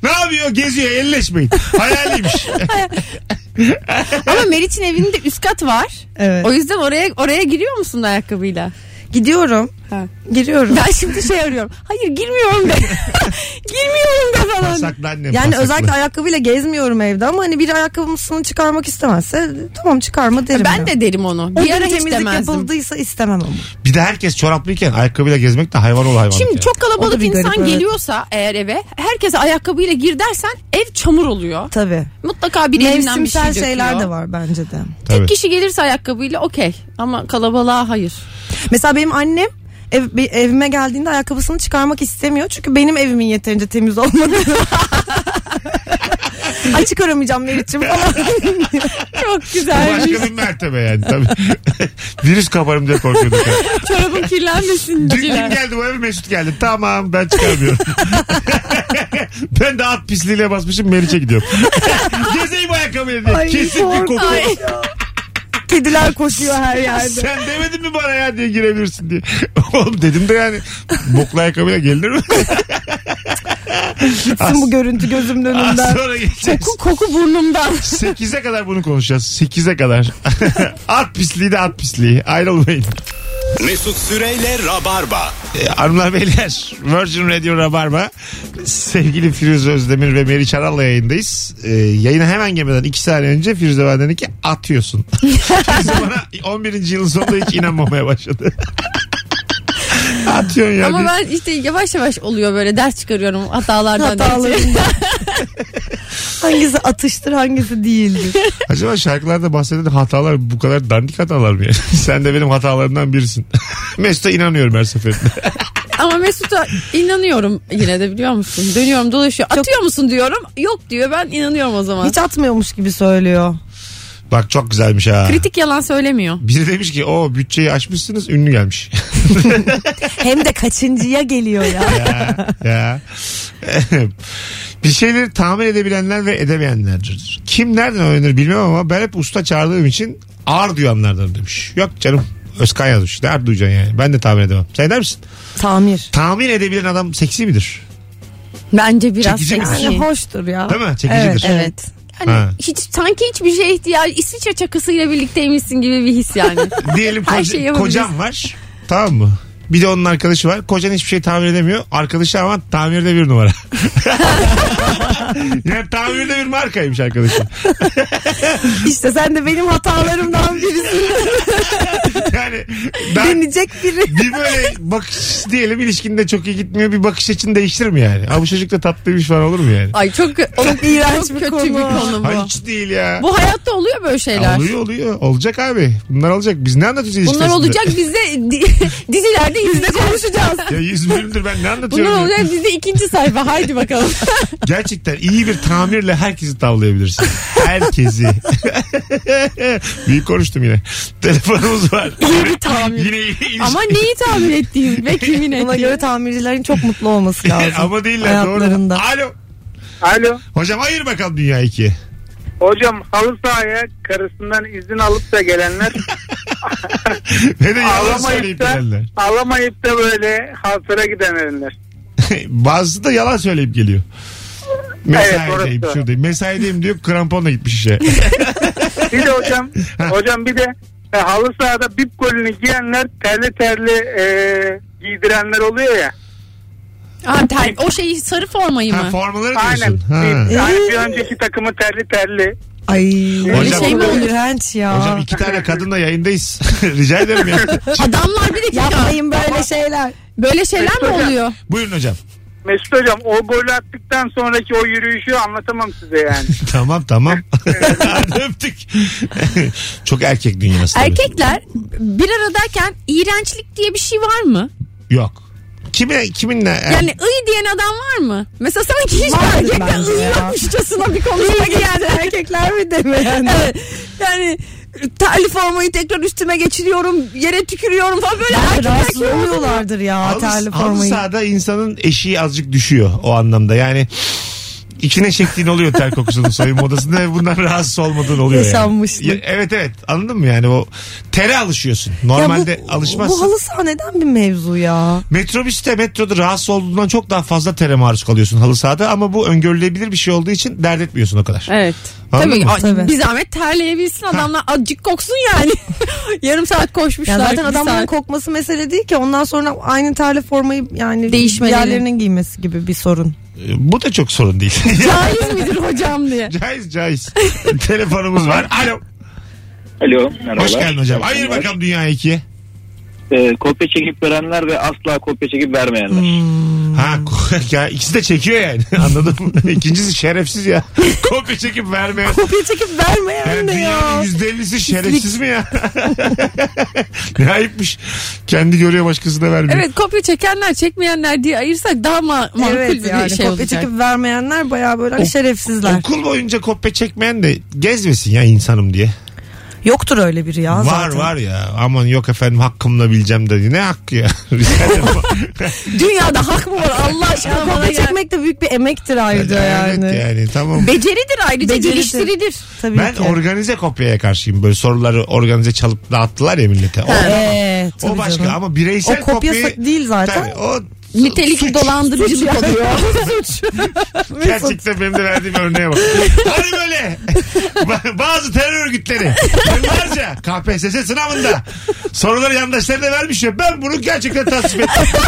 [SPEAKER 2] Ne yapıyor geziyor elleşmeyin. Hayaliymiş.
[SPEAKER 3] Ama Meriç'in evinde üst kat var.
[SPEAKER 4] Evet.
[SPEAKER 3] O yüzden oraya oraya giriyor musun ayakkabıyla?
[SPEAKER 4] Gidiyorum.
[SPEAKER 3] Ha.
[SPEAKER 4] Giriyorum.
[SPEAKER 3] Ben şimdi şey arıyorum. Hayır girmiyorum de. girmiyorum de falan.
[SPEAKER 2] Pasaklı annem.
[SPEAKER 4] Yani
[SPEAKER 2] pasaklı.
[SPEAKER 4] özellikle ayakkabıyla gezmiyorum evde ama hani biri ayakkabımın sınırını çıkarmak istemezse tamam çıkarma derim.
[SPEAKER 3] Ben
[SPEAKER 4] ya.
[SPEAKER 3] de derim onu.
[SPEAKER 4] O
[SPEAKER 3] Bir
[SPEAKER 4] gün
[SPEAKER 3] ara hiç
[SPEAKER 4] temizlik
[SPEAKER 3] demezdim.
[SPEAKER 4] yapıldıysa istemem ama.
[SPEAKER 2] Bir de herkes çoraplıyken ayakkabıyla gezmek de hayvan ol hayvan.
[SPEAKER 3] Şimdi çok
[SPEAKER 4] O da
[SPEAKER 3] kalabalık
[SPEAKER 4] bir garip,
[SPEAKER 3] insan
[SPEAKER 4] evet.
[SPEAKER 3] geliyorsa eğer eve herkese ayakkabıyla gir dersen ev çamur oluyor.
[SPEAKER 4] Tabii.
[SPEAKER 3] Mutlaka bir elinden bir şey
[SPEAKER 4] Mevsimsel
[SPEAKER 3] döküyor.
[SPEAKER 4] şeyler de var bence de.
[SPEAKER 3] Tek kişi gelirse ayakkabıyla okey ama kalabalığa hayır.
[SPEAKER 4] Mesela benim annem ev- be- evime geldiğinde ayakkabısını çıkarmak istemiyor. Çünkü benim evimin yeterince temiz olmadı. Ay çıkaramayacağım Meriç'im falan.
[SPEAKER 3] Çok güzelmiş.
[SPEAKER 2] Başka bir mertebe yani tabii. Virüs kaparım diye korkuyorduk. ya.
[SPEAKER 3] Çorabın
[SPEAKER 2] Dün
[SPEAKER 3] kirlenmesin diye.
[SPEAKER 2] kim geldi bu eve Mesut geldi. Tamam ben çıkarmıyorum. ben de at pisliğiyle basmışım Meriç'e gidiyorum. Gezeyim ayakkabıyla hamile diye.
[SPEAKER 4] Ay,
[SPEAKER 2] Kesin bir
[SPEAKER 4] kork-
[SPEAKER 2] koku.
[SPEAKER 4] Ay. Kediler koşuyor her yerde.
[SPEAKER 2] Sen demedin mi bana ya diye girebilirsin diye. Oğlum dedim de yani boklu ayakkabıyla gelinir mi?
[SPEAKER 4] Gitsin bu görüntü gözümün
[SPEAKER 2] Az
[SPEAKER 4] önünden.
[SPEAKER 2] sonra geleceğiz.
[SPEAKER 3] Koku, koku burnumdan.
[SPEAKER 2] 8'e kadar bunu konuşacağız. 8'e kadar. at pisliği de at pisliği. Ayrılmayın.
[SPEAKER 1] Mesut Süreyle Rabarba.
[SPEAKER 2] Ee, Hanımlar beyler Virgin Radio Rabarba sevgili Firuze Özdemir ve Meriç Aral'la yayındayız. Ee, yayına hemen gelmeden 2 saniye önce Firuze benden iki atıyorsun. Firuze bana 11. yılın sonunda hiç inanmamaya başladı. Atıyorsun ya.
[SPEAKER 3] Ama
[SPEAKER 2] diye.
[SPEAKER 3] ben işte yavaş yavaş oluyor böyle ders çıkarıyorum hatalardan.
[SPEAKER 4] Hatalarında. hangisi atıştır hangisi değildir.
[SPEAKER 2] Acaba şarkılarda bahsedilen hatalar bu kadar dandik hatalar mı? yani? Sen de benim hatalarımdan birisin. Mesut'a inanıyorum her seferinde.
[SPEAKER 3] Ama Mesut'a inanıyorum yine de biliyor musun? Dönüyorum dolaşıyor. Atıyor musun diyorum. Yok diyor ben inanıyorum o zaman.
[SPEAKER 4] Hiç atmıyormuş gibi söylüyor.
[SPEAKER 2] Bak çok güzelmiş ha.
[SPEAKER 3] Kritik yalan söylemiyor.
[SPEAKER 2] Biri demiş ki o bütçeyi açmışsınız ünlü gelmiş.
[SPEAKER 4] Hem de kaçıncıya geliyor ya.
[SPEAKER 2] ya, ya. bir şeyleri tahmin edebilenler ve edemeyenlerdir. Kim nereden öğrenir bilmem ama ben hep usta çağırdığım için ağır duyanlardan demiş. Yok canım Özkan yazmış. Ne ağır duyacaksın yani? Ben de tahmin edemem. Sen eder misin?
[SPEAKER 4] Tamir.
[SPEAKER 2] Tahmin edebilen adam seksi midir?
[SPEAKER 3] Bence biraz
[SPEAKER 2] Çekici mi?
[SPEAKER 3] seksi.
[SPEAKER 4] Yani hoştur ya.
[SPEAKER 2] Değil mi? Çekicidir.
[SPEAKER 4] Evet.
[SPEAKER 3] Yani
[SPEAKER 2] Ha.
[SPEAKER 3] hiç sanki hiçbir şeye ihtiyacı İsviçre çakısıyla birlikteymişsin gibi bir his yani.
[SPEAKER 2] Diyelim
[SPEAKER 3] Her
[SPEAKER 2] koca-
[SPEAKER 3] şeyi yapabiliriz.
[SPEAKER 2] kocam var. Tamam mı? Bir de onun arkadaşı var. Kocan hiçbir şey tamir edemiyor. Arkadaşı ama tamirde bir numara. yani tamirde bir markaymış arkadaşım.
[SPEAKER 4] evet. İşte sen de benim hatalarımdan birisin
[SPEAKER 2] Yani daha-
[SPEAKER 4] denecek biri.
[SPEAKER 2] bir böyle bakış diyelim ilişkinde çok iyi gitmiyor bir bakış açını değiştirir mi yani? Abi bu çocuk da tatlıymış falan olur mu yani?
[SPEAKER 3] Ay çok çok
[SPEAKER 4] iğrenç bir
[SPEAKER 3] kötü
[SPEAKER 4] konu.
[SPEAKER 3] bir konu bu.
[SPEAKER 2] Hayır hiç değil ya.
[SPEAKER 3] Bu hayatta oluyor böyle şeyler.
[SPEAKER 2] Oluyor oluyor. Olacak abi. Bunlar olacak. Biz ne anlatacağız ilişkisinde?
[SPEAKER 3] Bunlar olacak biz de di- dizilerde izleyeceğiz. konuşacağız.
[SPEAKER 2] Ya 100 bölümdür ben ne anlatıyorum?
[SPEAKER 3] Bunlar
[SPEAKER 2] ya?
[SPEAKER 3] olacak biz de ikinci sayfa. Haydi bakalım.
[SPEAKER 2] Gerçekten iyi bir tamirle herkesi tavlayabilirsin. Herkesi. Büyük konuştum yine. Telefonumuz var.
[SPEAKER 3] İyi bir tahmin.
[SPEAKER 2] Yine ilişki.
[SPEAKER 3] Ama neyi tahmin ettiğim ve kimin
[SPEAKER 4] Buna
[SPEAKER 3] ettiğim.
[SPEAKER 4] göre tamircilerin çok mutlu olması lazım.
[SPEAKER 2] Ama değiller doğru.
[SPEAKER 4] Hayatlarında.
[SPEAKER 2] Alo.
[SPEAKER 5] Alo.
[SPEAKER 2] Hocam ayır bakalım dünya ikiye.
[SPEAKER 5] Hocam halı sahaya karısından izin alıp da gelenler
[SPEAKER 2] Ve de yalan söyleyip
[SPEAKER 5] alamayıp da,
[SPEAKER 2] gelenler.
[SPEAKER 5] alamayıp da böyle hasıra gidenler.
[SPEAKER 2] Bazısı da yalan söyleyip geliyor. Mesaideyim
[SPEAKER 5] orası.
[SPEAKER 2] şuradayım. Mesaideyim diyor kramponla gitmiş işe.
[SPEAKER 5] Bir de hocam hocam bir de e, halı sahada bip golünü giyenler terli terli e, giydirenler oluyor ya.
[SPEAKER 3] Ha, ter- o şeyi sarı formayı
[SPEAKER 2] ha,
[SPEAKER 3] mı?
[SPEAKER 2] formaları
[SPEAKER 5] Aynen.
[SPEAKER 2] diyorsun. Ha. Ee?
[SPEAKER 5] Bir, yani bir önceki takımı terli terli. Ee,
[SPEAKER 4] Ay
[SPEAKER 2] Hocam-
[SPEAKER 4] şey mi olur? iğrenç ya.
[SPEAKER 2] Hocam iki tane kadınla yayındayız. Rica ederim ya.
[SPEAKER 3] Adamlar bir de
[SPEAKER 4] Yapmayın böyle şeyler.
[SPEAKER 3] Böyle şeyler mi
[SPEAKER 5] Hocam.
[SPEAKER 3] oluyor?
[SPEAKER 2] Buyurun hocam.
[SPEAKER 5] Mesut hocam o golü attıktan sonraki o yürüyüşü anlatamam size yani.
[SPEAKER 2] Tamam tamam. Hadi öptük. Çok erkek dünyası. tabii.
[SPEAKER 3] Erkekler bir aradayken iğrençlik diye bir şey var mı?
[SPEAKER 2] Yok. Kime, kiminle? er-
[SPEAKER 3] Yani ıy diyen adam var mı? Mesela sanki hiç
[SPEAKER 4] Vardır
[SPEAKER 3] erkekle
[SPEAKER 4] bence
[SPEAKER 3] ıy
[SPEAKER 4] ya.
[SPEAKER 3] yokmuşçasına bir konuşma geldi.
[SPEAKER 4] Erkekler mi demeyen?
[SPEAKER 3] Evet. Yani terli formayı tekrar üstüme geçiriyorum, yere tükürüyorum falan böyle
[SPEAKER 4] Rahatsız
[SPEAKER 3] erkekler
[SPEAKER 4] oluyorlardır ya
[SPEAKER 2] Halı-
[SPEAKER 4] terli
[SPEAKER 2] halı
[SPEAKER 4] formayı.
[SPEAKER 2] sahada insanın eşiği azıcık düşüyor o anlamda. Yani içine çektiğin oluyor ter kokusunun soyunma odasında ve bundan rahatsız olmadığın oluyor
[SPEAKER 4] Yaşanmışlık.
[SPEAKER 2] yani. Ya- Evet evet anladın mı yani o tere alışıyorsun. Normalde
[SPEAKER 4] ya bu,
[SPEAKER 2] alışmazsın.
[SPEAKER 4] Bu halı saha neden bir mevzu ya?
[SPEAKER 2] Metrobüste metroda rahatsız olduğundan çok daha fazla tere maruz kalıyorsun halı sahada ama bu öngörülebilir bir şey olduğu için dert etmiyorsun o kadar.
[SPEAKER 3] Evet.
[SPEAKER 2] Anladın
[SPEAKER 3] Tabii,
[SPEAKER 2] mı?
[SPEAKER 3] a-
[SPEAKER 4] Tabii.
[SPEAKER 3] bir zahmet terleyebilsin adamlar acık koksun yani. Yarım saat koşmuşlar.
[SPEAKER 4] Ya zaten
[SPEAKER 3] bir
[SPEAKER 4] adamların
[SPEAKER 3] saat.
[SPEAKER 4] kokması mesele değil ki. Ondan sonra aynı terli formayı yani
[SPEAKER 3] Değişmeleri.
[SPEAKER 4] diğerlerinin giymesi gibi bir sorun.
[SPEAKER 2] Ee, Bu da çok sorun değil.
[SPEAKER 3] Caiz midir hocam diye.
[SPEAKER 2] caiz caiz. Telefonumuz var. Alo.
[SPEAKER 9] Alo merhaba.
[SPEAKER 2] Hoş geldin hocam. Hayır bakalım dünya ikiye.
[SPEAKER 9] Ee, kopya çekip verenler ve asla kopya çekip vermeyenler.
[SPEAKER 2] Ha ya ikisi de çekiyor yani. Anladım. İkincisi şerefsiz ya. Kopya çekip vermeyen.
[SPEAKER 4] Kopya çekip vermeyen
[SPEAKER 2] Yani
[SPEAKER 4] de
[SPEAKER 2] dünyanın
[SPEAKER 4] ya.
[SPEAKER 2] yüzde ellisi şerefsiz mi ya? ne ayıpmış. Kendi görüyor başkası da vermiyor.
[SPEAKER 3] Evet kopya çekenler çekmeyenler diye ayırsak daha ma- makul
[SPEAKER 4] Evet
[SPEAKER 3] bir
[SPEAKER 4] yani
[SPEAKER 3] şey
[SPEAKER 4] kopya
[SPEAKER 3] olacak.
[SPEAKER 4] çekip vermeyenler baya böyle şerefsizler.
[SPEAKER 2] Okul boyunca kopya çekmeyen de gezmesin ya insanım diye.
[SPEAKER 4] Yoktur öyle biri ya
[SPEAKER 2] var
[SPEAKER 4] zaten.
[SPEAKER 2] var ya aman yok efendim hakkımla bileceğim dedi. Ne hakkı ya? Rica ederim.
[SPEAKER 3] Dünyada hak mı var Allah
[SPEAKER 4] Ya
[SPEAKER 3] aşkına bana
[SPEAKER 4] kopya
[SPEAKER 3] ya.
[SPEAKER 4] çekmek de büyük bir emektir ayrıca
[SPEAKER 2] evet
[SPEAKER 4] yani.
[SPEAKER 2] yani tamam.
[SPEAKER 3] Beceridir ayrıca
[SPEAKER 4] Beceridir.
[SPEAKER 3] geliştirilir.
[SPEAKER 4] Tabii
[SPEAKER 2] Ben
[SPEAKER 4] ki.
[SPEAKER 2] organize kopyaya karşıyım. Böyle soruları organize çalıp dağıttılar ya millete. O,
[SPEAKER 4] Ee,
[SPEAKER 2] o
[SPEAKER 4] tabii
[SPEAKER 2] başka
[SPEAKER 4] canım.
[SPEAKER 2] ama bireysel
[SPEAKER 4] O kopya
[SPEAKER 2] kopyayı-
[SPEAKER 4] değil zaten.
[SPEAKER 2] Tabii, o
[SPEAKER 3] Nitelikli dolandırıcılık oluyor.
[SPEAKER 2] Gerçekten benim de verdiğim örneğe bak. Hani böyle ba- bazı terör örgütleri yıllarca KPSS sınavında soruları yandaşlarına vermiş ya ben bunu gerçekten tasvip ettim.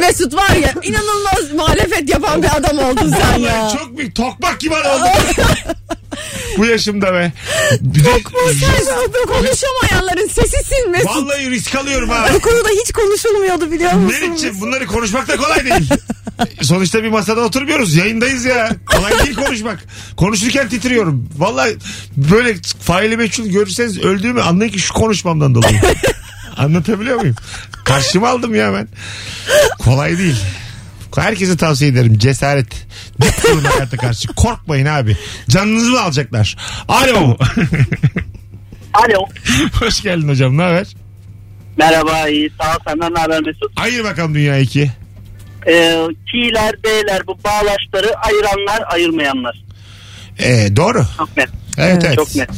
[SPEAKER 3] Mesut var ya inanılmaz muhalefet yapan bir adam oldun sen ya.
[SPEAKER 2] Vallahi çok büyük tokmak gibi oldum. Bu yaşımda be. Bir de-
[SPEAKER 3] Sen konuşamayanların sesisin Mesut.
[SPEAKER 2] Vallahi risk alıyorum ha.
[SPEAKER 4] Bu konuda hiç konuşulmuyordu biliyor musun?
[SPEAKER 2] Meriç'ciğim bunları konuşmak da kolay değil. Sonuçta bir masada oturmuyoruz. Yayındayız ya. Kolay değil konuşmak. Konuşurken titriyorum. Vallahi böyle faili meçhul görürseniz öldüğümü anlayın ki şu konuşmamdan dolayı. Anlatabiliyor muyum? Karşıma aldım ya ben. Kolay değil. Herkese tavsiye ederim. Cesaret. Dik durun hayata karşı. Korkmayın abi. Canınızı mı alacaklar? Alo.
[SPEAKER 9] Alo.
[SPEAKER 2] Hoş geldin hocam. Ne haber?
[SPEAKER 9] Merhaba iyi sağ ol senden ne haber Mesut?
[SPEAKER 2] Ayır bakalım dünya ikiye.
[SPEAKER 9] Ee, T'ler B'ler bu bağlaçları ayıranlar ayırmayanlar.
[SPEAKER 2] Ee, doğru.
[SPEAKER 9] Çok net.
[SPEAKER 2] Evet, evet.
[SPEAKER 9] Ee, Çok net.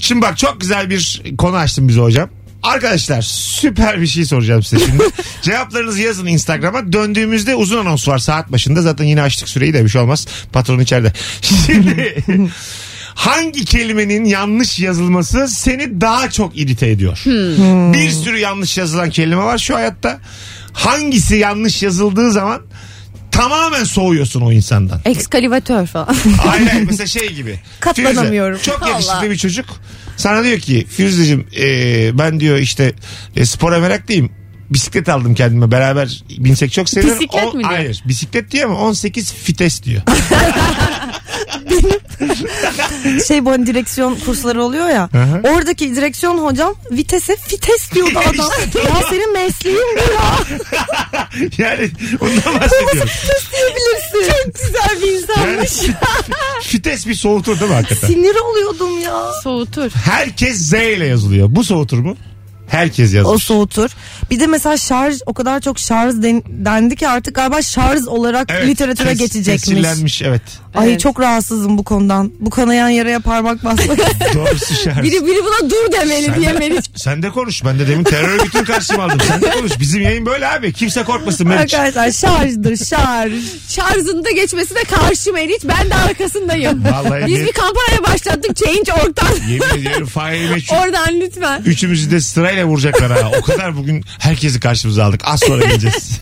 [SPEAKER 2] Şimdi bak çok güzel bir konu açtın bize hocam. Arkadaşlar süper bir şey soracağım size şimdi. Cevaplarınızı yazın Instagram'a. Döndüğümüzde uzun anons var saat başında. Zaten yine açtık süreyi de bir şey olmaz. Patron içeride. Şimdi hangi kelimenin yanlış yazılması seni daha çok irite ediyor? Hmm. Bir sürü yanlış yazılan kelime var şu hayatta. Hangisi yanlış yazıldığı zaman tamamen soğuyorsun o insandan.
[SPEAKER 3] Ekskalivatör falan.
[SPEAKER 2] Aynen mesela şey gibi.
[SPEAKER 4] Katlanamıyorum.
[SPEAKER 2] Firuze, çok yakışıklı
[SPEAKER 3] Allah.
[SPEAKER 2] bir çocuk. Sana diyor ki Firuze'cim e, ben diyor işte e, spora meraklıyım. Bisiklet aldım kendime beraber binsek çok seviyorum.
[SPEAKER 3] Bisiklet mi diyor?
[SPEAKER 2] Hayır bisiklet diyor ama 18 fites diyor.
[SPEAKER 4] Şey bu hani direksiyon kursları oluyor ya.
[SPEAKER 2] hı.
[SPEAKER 4] oradaki direksiyon hocam vitese fites diyordu adam. ya senin mesleğin bu ya.
[SPEAKER 2] yani ondan bahsediyorum.
[SPEAKER 4] Fites diyebilirsin. Çok güzel bir
[SPEAKER 2] Yani fites bir soğutur değil mi hakikaten?
[SPEAKER 4] Sinir oluyordum ya.
[SPEAKER 3] Soğutur.
[SPEAKER 2] Herkes Z ile yazılıyor. Bu soğutur mu? Herkes
[SPEAKER 4] O
[SPEAKER 2] yazmış.
[SPEAKER 4] soğutur. Bir de mesela şarj o kadar çok şarj den- dendi ki artık galiba şarj olarak
[SPEAKER 2] Evet,
[SPEAKER 4] literatüre
[SPEAKER 2] tes-
[SPEAKER 4] geçecekmiş.
[SPEAKER 2] tescillenmiş, evet.
[SPEAKER 4] Ay
[SPEAKER 3] Evet.
[SPEAKER 4] çok rahatsızım bu konudan. Bu kanayan yaraya parmak basmak.
[SPEAKER 2] Doğrusu şarj.
[SPEAKER 3] Biri biri buna dur demeli
[SPEAKER 2] Sen-
[SPEAKER 3] diye Meriç.
[SPEAKER 2] Sen de konuş. Ben de demin terör örgütünü karşıma aldım. Sen de konuş. Bizim yayın böyle abi. Kimse korkmasın Meriç.
[SPEAKER 4] Arkadaşlar şarjdır şarj.
[SPEAKER 3] Şarjında geçmesine karşı Meriç. Ben de arkasındayım.
[SPEAKER 2] Vallahi
[SPEAKER 3] Biz
[SPEAKER 2] bir-
[SPEAKER 3] bir kampanya başlattık Change.org'dan.
[SPEAKER 2] Yemin ediyorum faili meçhul.
[SPEAKER 3] Oradan lütfen.
[SPEAKER 2] Üçümüzü de sırayla vuracaklar ha. O kadar bugün herkesi karşımıza aldık. Az sonra geleceğiz.